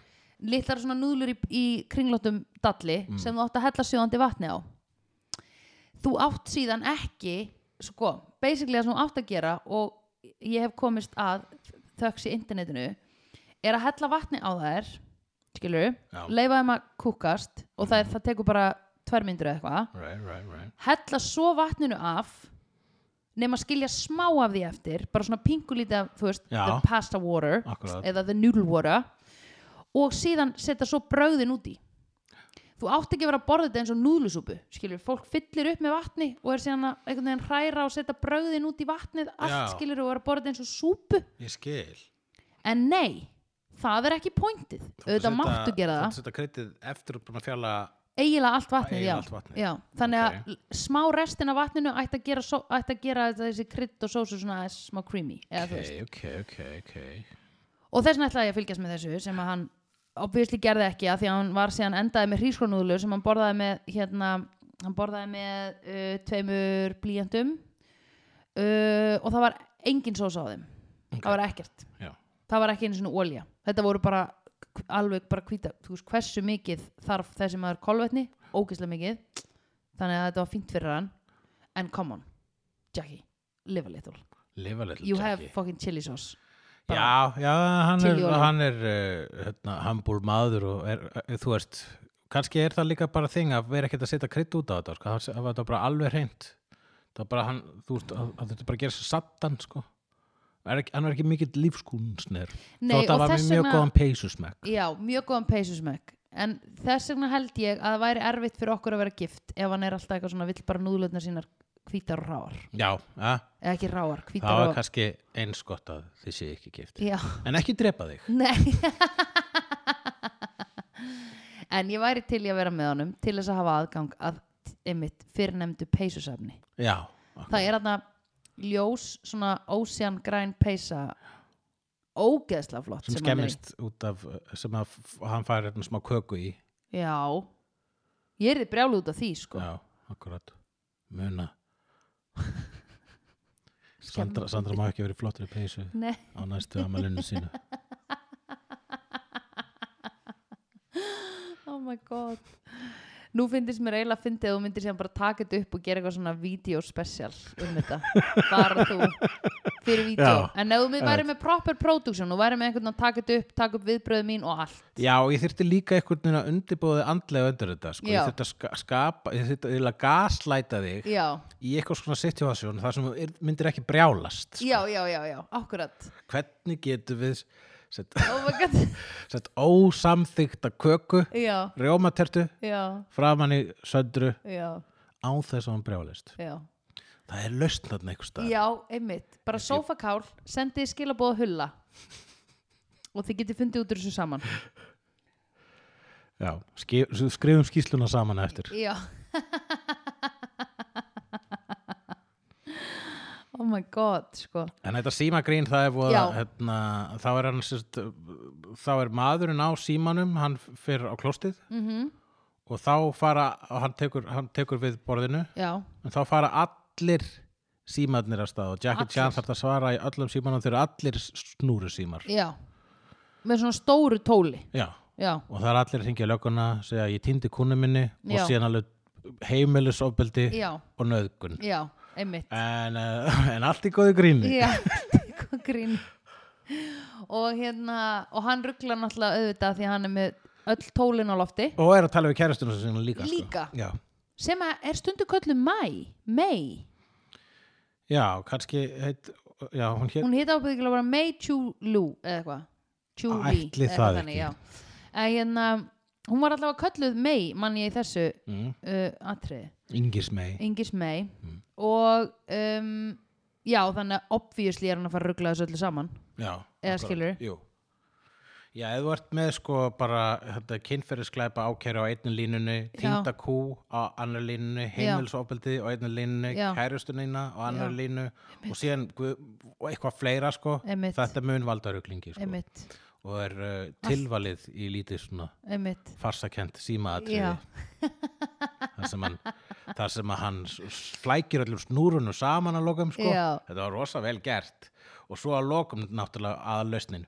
S2: litlar svona núðlur í, í kringlóttum dalli
S1: Mm.
S2: sem þú átt að hella sjóðandi vatni á þú átt síðan ekki sko, basically það sem þú átt að gera og ég hef komist að þöks í internetinu er að hella vatni á þær skilur,
S1: Já.
S2: leifa þeim að kúkast og það, er, það tekur bara tvær myndur eða eitthvað
S1: right, right, right
S2: hella svo vatninu af nema skilja smá af því eftir bara svona pingulítið af, þú veist,
S1: Já.
S2: the pasta water
S1: Akkúrat.
S2: eða the noodle water og síðan setja svo bröðin út í þú átt ekki að vera að borða þetta eins og núðlusúpu skilur, fólk fyllir upp með vatni og er síðan að einhvern veginn hræra og setja bröðin út í vatnið allt
S1: Já.
S2: skilur og vera að borða þetta eins og súpu
S1: ég skil
S2: en nei, það er ekki pointið auðvitað máttu gera það
S1: Þú setja kryddið eftir og búin að fjalla
S2: eiginlega allt vatnið,
S1: Eiginlega
S2: já.
S1: allt vatnið.
S2: já þannig að l- smá restin af vatninu ætti að gera, só, ætti að gera þetta- þessi krydd og sósu svona aðeins smá creamy eða, þú
S1: Ok,
S2: veist.
S1: ok, ok, ok
S2: og þess vegna ætlaði ég að fylgjast með þessu sem að hann obviously gerði ekki að því að hann var síðan endaði með hrískornúðlu sem hann borðaði með hérna, hann borðaði með uh, tveimur blíjantum uh, og það var engin sósa á þeim það var ekkert,
S1: Já,
S2: það var ekki einu svona olja þetta voru bara k- alveg bara hvíta þú veist hversu mikið þarf þessi maður kolvetni, ógeðslega mikið þannig að þetta var fínt fyrir hann en come on, Jackie live a little,
S1: lifa little
S2: you have
S1: Jackie.
S2: fucking chili sauce
S1: Já, já, hann er,
S2: Chili olíu.
S1: hann er uh, hérna, hambúr maður og er, uh, þú veist, kannski er það líka bara þing að vera ekkert að setja krydd út á þetta, sko, það var þetta bara alveg hreint. Það var bara hann, þú veist, að, að þetta bara að gera svo sattan, sko. Er ekki, hann var ekki mikill lífskúnsnir.
S2: Nei,
S1: Þótt að
S2: og
S1: var með
S2: þess
S1: mjög
S2: vegna-
S1: góðan peysusmekk.
S2: já, mjög góðan peysusmökk en þess vegna held ég að það væri erfitt fyrir okkur að vera gift ef hann er alltaf eitthvað svona vill bara núðlutna sínar hvítar og ráar
S1: Já, ja,
S2: eða ekki ráar,
S1: það
S2: hvítar
S1: var
S2: og
S1: kannski eins gott að þið séu ekki gift.
S2: já,
S1: En ekki drepa þig.
S2: nei en ég væri til í að vera með honum til þess að hafa aðgang að einmitt fyrrnefndu peysusafni
S1: Já,
S2: það er þarna ljós svona ósjan græn peysa ógeðsla flott
S1: sem
S2: hann er í.
S1: skemmist út af, uh, sem að f- hann fær hérna smá köku í.
S2: já, ég er þið brjálu út af því sko
S1: Já, akkurat Muna
S2: Skemmandi.
S1: Sandra, Sandra má ekki verið flottri peysu
S2: nei
S1: á næstu amalinu sínu
S2: oh my god nú finnst mér eiginlega að fyndi að þú myndir síðan bara taka þetta upp og gera eitthvað svona videospecial um þetta, bara þú fyrir vídeo,
S1: Já.
S2: en ef þú mynd- væri með proper production og væri með einhvern að taka þetta upp taka upp viðbröðu mín og allt
S1: Já, ég þyrfti líka einhvern veginn að undirbúða þig andlega undir þetta sko.
S2: Já.
S1: ég þyrfti að ska- skapa, ég þyrfti eiginlega að gaslæta þig
S2: já,
S1: í eitthvað svona situation þar sem þú er- myndir ekki brjálast
S2: já, já, já, já, akkurat
S1: Hvernig getum við sett,
S2: oh my god,
S1: sett ósamþykta köku
S2: já,
S1: rjómatertu
S2: já
S1: framan í söndru
S2: já,
S1: á þess að hann brjálist
S2: já
S1: Það er lausn þarna einhvers staðar
S2: já, einmitt, bara sofakál sendið skilabóða hulla og þið getið fundið út úr þessu saman
S1: Já, skif, skrifum skýsluna saman eftir
S2: Já Oh my god, sko
S1: En þetta símagrín, það er voða,
S2: Já.
S1: hérna, þá er hann sérst, þá er maðurinn á símanum, hann fyrir á klostið -hmm.
S2: Mhm.
S1: og þá fara, og hann tekur, hann tekur við borðinu,
S2: Já,
S1: en þá fara allir símarnir að stað og Jackie
S2: Allir.
S1: Chan þarf að svara í öllum símanum þegar allir snúru símar.
S2: já Með svona stóru tóli
S1: Já,
S2: Já,
S1: og það er allir að hringja í lögguna, segja ég týndi kúnu minni
S2: Já.
S1: og síðan alveg heimilisofbeldi
S2: já,
S1: og nöðgun.
S2: já, einmitt
S1: En, eh, en allt í góðu gríni.
S2: Já, eitthvað grín Og hérna Og hann rugglar náttúrulega auðvitað því að hann er með öll tólin á lofti
S1: Og er að tala við kærastunum sinna líka. sko.
S2: Líka.
S1: Já.
S2: sem að er stundu köllu Mai May,
S1: Já, kannski heit, já, hún hér
S2: hún heita ábyggilega bara May Chu Lu eða eitthvað Chu Li
S1: Ætli
S2: eða
S1: það
S2: eitthvað
S1: ekki.
S2: já. En hérna, hún var allavega kölluð May mann ég í þessu
S1: mm,
S2: uh, atriði,
S1: Ingis mei
S2: Ingis May
S1: Mm.
S2: og um, já þannig að obviously er hann að fara að ruggla þessu öllu saman
S1: Já,
S2: Eða
S1: akkurat,
S2: skilurðu?
S1: Jú Já, ef þú ert með sko bara þetta kynferðisklæpa ákæru á einni línunni týnda kú á annar línunni heimilsofbeldi á einni línunni
S2: Já.
S1: kærustunina á annar
S2: Já.
S1: línu og síðan guð, og eitthvað fleira sko
S2: Einmitt.
S1: þetta mun valdaruglingi sko
S2: einmitt,
S1: og er uh, tilvalið í lítið svona
S2: einmitt
S1: farsakent símaatriði
S2: já,
S1: þar sem hann, þar sem að hann s- s- flækir öllum snúrunum saman að lokum sko.
S2: Já.
S1: þetta var rosa vel gert og svo að lokum náttúrulega að lausnin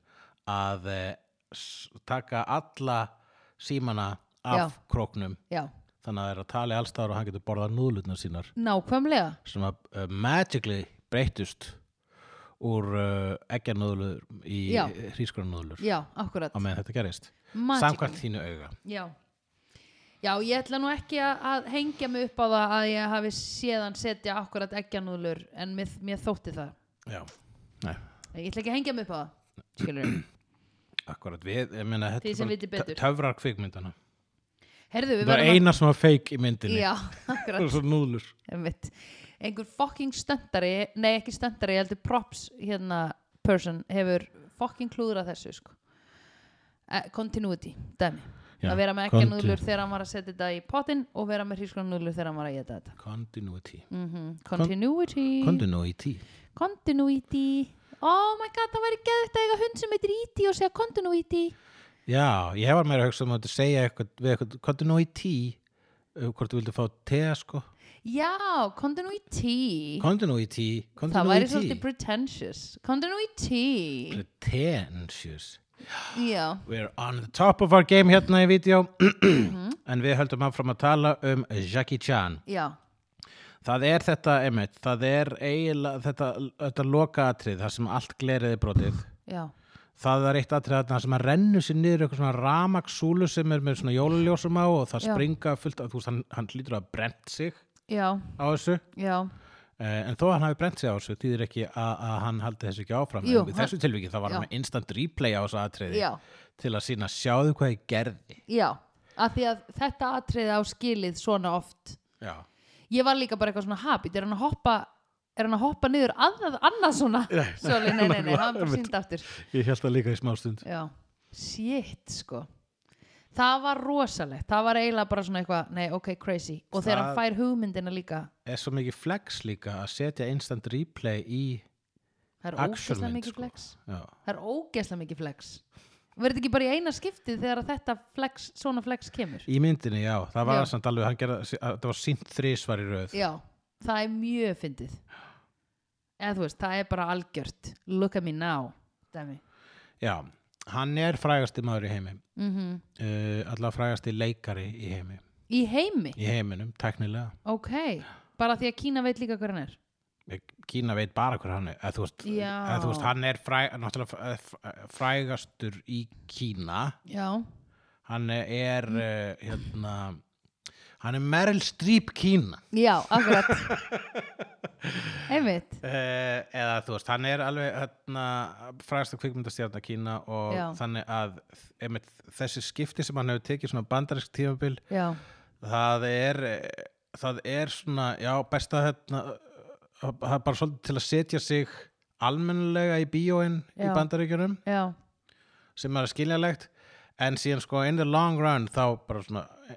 S1: að eh, s- taka alla símana af
S2: Já.
S1: króknum
S2: já,
S1: þannig að það er að tala í allstaðar og hann getur borðað núðlutnar sínar
S2: nákvæmlega
S1: sem að uh, magically breytust úr uh, eggjarnúðlur í
S2: Já.
S1: hrískranúðlur
S2: já, akkurat
S1: á meðan þetta gerist
S2: Magically.
S1: samkvæmt þínu auga
S2: já Já, ég ætla nú ekki að, að hengja mig upp á það að ég hafi séðan setja akkurat eggjanúðlur en mér, mér þótti það.
S1: já, nei,
S2: Ég ætla ekki að hengja mig upp á það, skilur.
S1: akkurat við ég meina, þetta
S2: Þið sem
S1: er bara
S2: vitið
S1: tö-
S2: betur.
S1: töfrar kvikmyndana
S2: Herðu, við
S1: það var
S2: verðum
S1: eina sem var feik í myndinni
S2: Já,
S1: það
S2: akkurat,
S1: var svo núðlur
S2: einmitt. Einhver fucking stöndari, nei ekki stöndari, ég heldur props hérna person hefur fucking klúðrað þessu, sko. Eh, continuity, dæmi.
S1: Já,
S2: að vera með
S1: conti-
S2: eggjanúðlur þegar hann var að setja þetta í potinn og vera með hrískranúðlur þegar hann var að geta þetta.
S1: continuity
S2: Mm Continuity.
S1: continuity
S2: Continuity Oh my god, það væri geðvægt að eiga hund sem heitir E.T. og segja Continuity
S1: já, ég var meira að hugsa um að segja eitthvað, við eitthvað continuity uh, hvort þú vildi fá te sko
S2: Já, Continuity
S1: continuity,
S2: Það væri svolítið
S1: continuity
S2: pretentious Continuity
S1: pretentious
S2: Já,
S1: We're on the top of our game hérna í vídeo
S2: Mhm.
S1: en við höldum áfram að tala um Jackie Chan.
S2: já,
S1: Það er þetta, einmitt, það er eiginlega þetta, þetta lokaatrið, það sem allt glerið er brotið.
S2: já
S1: Það er eitt atrið þarna sem að rennu sér niður eitthvað svona ramaksúlu sem er með svona jólaljósum á og það
S2: Já.
S1: springa fullt að þú veist, hann, hann lítur að hafa brent sig
S2: Já,
S1: á þessu.
S2: já,
S1: Eh, En þó að hann hafi brent sig á þessu, þýðir ekki að, að hann haldi þessu ekki áfram.
S2: Jú,
S1: En í
S2: hann-
S1: þessu tilviki þá var hann
S2: Já.
S1: með instant replay á þessu atriði
S2: já,
S1: til að sína sjáðu hvað ég gerði.
S2: já Af því að þetta atriði á skilið svona oft
S1: Já.
S2: Ég var líka bara eitthvað svona habit Er hann að hoppa, er hann að hoppa niður annað, annað svona Svolítið, nei, nei, nei, hann bara
S1: Einmitt.
S2: sínd aftur
S1: Ég held það líka í smástund.
S2: Já, shit sko Það var rosalegt, það var eiginlega bara svona eitthvað, nei ok, crazy Og þegar hann
S1: Það-
S2: fær hugmyndina líka
S1: Er svo mikið flex líka að setja instant replay í...
S2: Það er
S1: Action
S2: ógeðslega
S1: mynd,
S2: mikið
S1: sko.
S2: flex
S1: Já.
S2: Það er ógeðslega mikið flex Verði ekki bara í eina skiptið þegar að þetta flex, svona flex kemur
S1: Í myndinni, já. Það var
S2: Já.
S1: samt alveg, hann gerði, það var sínt þrísvar í röð.
S2: Já, það er mjög fyndið Eða þú veist, það er bara algjört Look at me now, dæmi
S1: Já. Hann er frægasti maður í heimi.
S2: mm
S1: Uh, allavega frægasti leikari í heimi.
S2: Í heimi,
S1: Í heiminum, teknilega.
S2: ok Bara því að Kína veit líka hver hann er
S1: Eh, Kína veit bara hver hann er. Eða þú veist,
S2: Já.
S1: eða þú veist hann er fræg, náttúrulega fræ- fræ- eh, frægastur í Kína.
S2: Já,
S1: Hann er,
S2: Mm.
S1: uh, hérna, hann er Meryl Streep Kína.
S2: Já, akkurat Einmitt
S1: Eh, eða þú veist, hann er alveg hérna, frægasta kvikmyndastjarnar Kína og
S2: Já.
S1: þannig að einmitt, þessi skipti sem hann hefur tekið svona bandarísk tímabil,
S2: Já,
S1: það er eh, það er svona, já, besta hérna, það er bara svolítið til að setja sig almennilega í bíóin í
S2: Já.
S1: bandaríkjunum
S2: já,
S1: sem er skiljanlegt en síðan sko in the long run þá bara svona eh,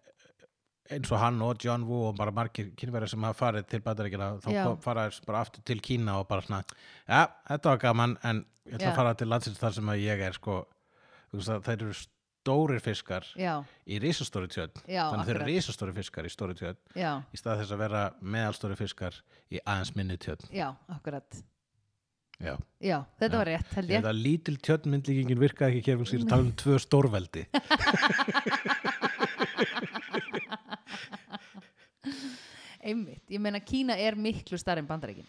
S1: eins og hann og John Woo og bara margir kynverðar sem hafa farið til bandaríkina þá
S2: Já.
S1: kom, fara þess bara aftur til Kína og bara svona, já, þetta var gaman en ég ætla
S2: Já.
S1: að fara til landsins þar sem að ég er sko, þú veist að þeir eru stórir fiskar
S2: já,
S1: í risastóri tjöld
S2: Já,
S1: þannig þeir eru
S2: akkurat.
S1: risastóri fiskar í stóri tjöld
S2: já,
S1: í stað þess að vera meðalstóri fiskar í aðeins minni tjöld
S2: já, akkurat
S1: Já,
S2: Já, þetta
S1: Já.
S2: var rétt, held ég
S1: þetta lítil tjöld myndlíkingin virkaði ekki hér fyrir sér að tala um tvö stórveldi
S2: Einmitt, ég meina Kína er miklu starri en bandaríkin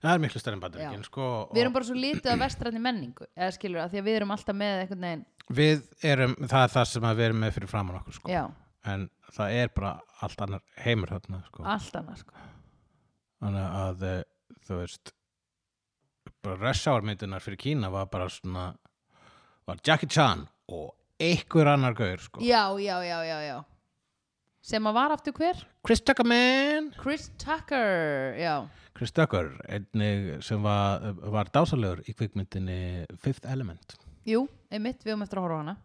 S1: Það er miklu stærri en bandaríkinn,
S2: Já.
S1: sko. og
S2: Við erum bara svo litið af vestrætni menningu eða skilur að því að við erum alltaf með einhvern veginn
S1: við erum, það er það sem að við erum með fyrir framan okkur, sko.
S2: Já,
S1: En það er bara allt annar heimur þarna, sko.
S2: allt annað sko
S1: Þannig að, eh, þú veist, bara resjáarmyndunar fyrir Kína var bara svona, var Jackie Chan og einhver annar gaur, sko.
S2: Já, já, já, já, já Sem að var aftur hver?
S1: Chris Tucker, man!
S2: Chris Tucker, já
S1: Chris Tucker, einnig sem var, var dásalegur í kvikmyndinni Fifth Element.
S2: Jú, einmitt, við höfum eftir að horfa á hana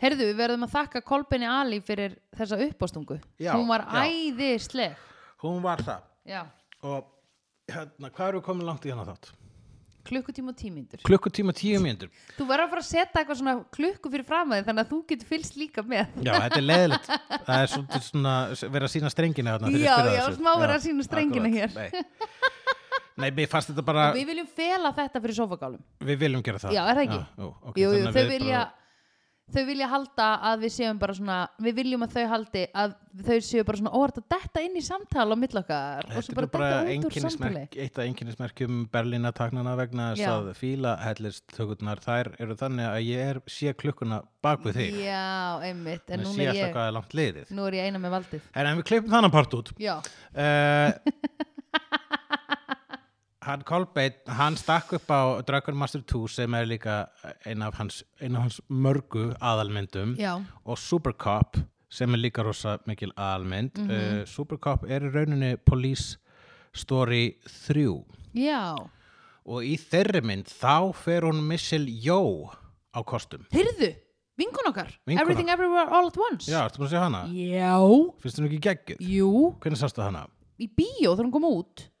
S2: Herðu, við verðum að þakka Kolbeni Ali fyrir þessa uppástungu
S1: Já,
S2: Hún var
S1: já.
S2: æðisleg
S1: Hún var það.
S2: Já,
S1: Og, hérna, hvað erum við komin langt í hana þátt?
S2: klukkutíma og tímyndur
S1: Klukkutíma tíu mínútur.
S2: Þú verður að fara að setja eitthvað svona klukku fyrir framæði þannig að þú getur fylgst líka með
S1: Já, þetta er leiðilegt. Það er svolítið svona verið að sína strengina þarna þegar ég
S2: Já,
S1: spyr að
S2: já,
S1: þessu.
S2: smá verið að sýna strengina
S1: akkurat. Nei. Nei, mér fannst þetta bara,
S2: Og við viljum fela þetta fyrir sofagálum
S1: við viljum gera það.
S2: Já, er það ekki?
S1: jú, ok,
S2: jú, jú,
S1: þannig að
S2: þau
S1: við
S2: vilja þau vilja halda að við séum bara svona við viljum að þau haldi að þau séu bara svona óvart að detta inn í samtal á milli okkar og svo
S1: Þetta er
S2: bara,
S1: bara
S2: detta út úr samtali
S1: einkennismerk, eitt af einkennismerkjum Berlínataknana vegna þess
S2: Já.
S1: að fílahellistökurnar þær eru þannig að ég er, sé klukkuna bak við þig
S2: já, einmitt, en
S1: en
S2: núna
S1: sé
S2: er
S1: alltaf
S2: ég
S1: hvað er langt liðið
S2: nú er ég eina með valdið
S1: en, en við klippum þannan part út
S2: já,
S1: uh, Hann Kolbeitt, hann stakk upp á Dragon Master 2 sem er líka ein af hans, ein af hans mörgu aðalmyndum
S2: já,
S1: og Supercop sem er líka rosa mikil aðalmynd uh, Supercop er í rauninni Police Story 3
S2: já
S1: og í þeirri mynd þá fer hún Missile Jó á kostum
S2: heyrðu, vinkun okkar
S1: Vinkona.
S2: everything everywhere all at once
S1: Já, ertu búin að segja hana?
S2: já,
S1: Finnst hún ekki geggjuð?
S2: jú
S1: Hvernig sástu hana?
S2: í bíó þegar hún kom út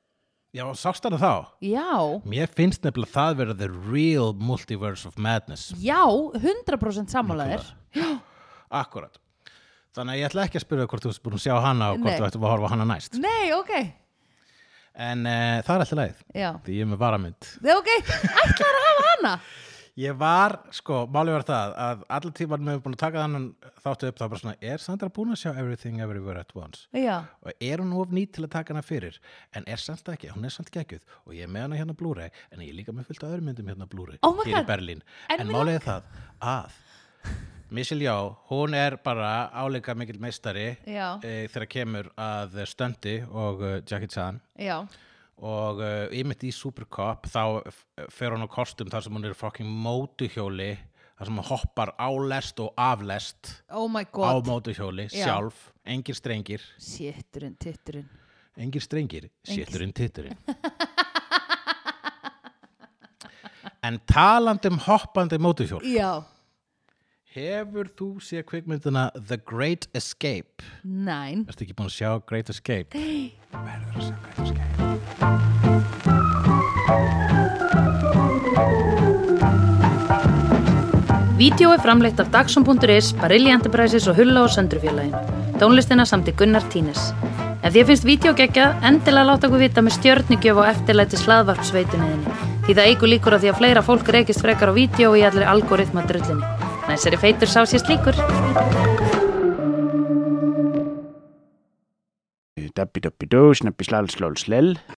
S1: Já, sástu hana þá?
S2: já,
S1: Mér finnst nefnilega það vera the real multiverse of madness
S2: já, 100% sammálaðir
S1: Akkurat Þannig að ég ætla ekki að spyrja hvort þú ert búin að sjá hana og hvort
S2: Nei. Mm.
S1: þú ættum að horfa á hana næst
S2: nei, ok,
S1: En uh, það er alltaf leið
S2: já
S1: Því ég er með varamynd
S2: Nei, ok, ætlar að hafa hana
S1: Ég var, sko, málið var það að allir tímann með búin að taka þannan þáttu upp þá bara svona, er Sandra búin að sjá everything everywhere at once?
S2: já,
S1: og er hún of nýtt til að taka hana fyrir en er samt ekki, hún er samt geggjuð og ég er með hana hérna á Blu-ray en ég er líka með fullt af öðrum myndum hérna á Blu-ray
S2: Oh my
S1: hér
S2: God.
S1: í Berlín,
S2: En
S1: en,
S2: mig
S1: málið er það að Michelle Yeoh, hún er bara áleika mikill meistari
S2: Já.
S1: e, þegar kemur að stöndi og uh, Jackie Chan
S2: já
S1: og uh, einmitt í Supercop þá f- fer hún á kostum þar sem hún er fucking mótuhjóli þar sem hún hoppar á lest og af lest
S2: Oh my
S1: á
S2: god,
S1: mótuhjóli
S2: Já.
S1: sjálf, engir strengir
S2: sétturinn, titturinn
S1: Engir strengir, séturinn titturinn. En talandi um hoppandi mótuhjól,
S2: Já,
S1: hefur þú séð kvikmyndina The Great Escape?
S2: næn
S1: Ertu ekki búin að sjá Great Escape? Nei. Verður að sjá Great Escape.
S3: Vídeó er framleitt af Dagsum.is, Barilli Enterprises og Hulla og Söndrufjörlægin. Tónlistina samt í Gunnar Tínes. Ef þér finnst vídeo geggja, endilega láta okkur vita með stjörnigjöf og eftirlæti slaðvarpsveitunniðinni. Því það eigur líkur að því að fleira fólk reykist frekar á vídeo í allir algoritma drullinni. Næsari feitur sá sér slíkur.
S4: Dabbi dabbi dó, snabbi slal slal slel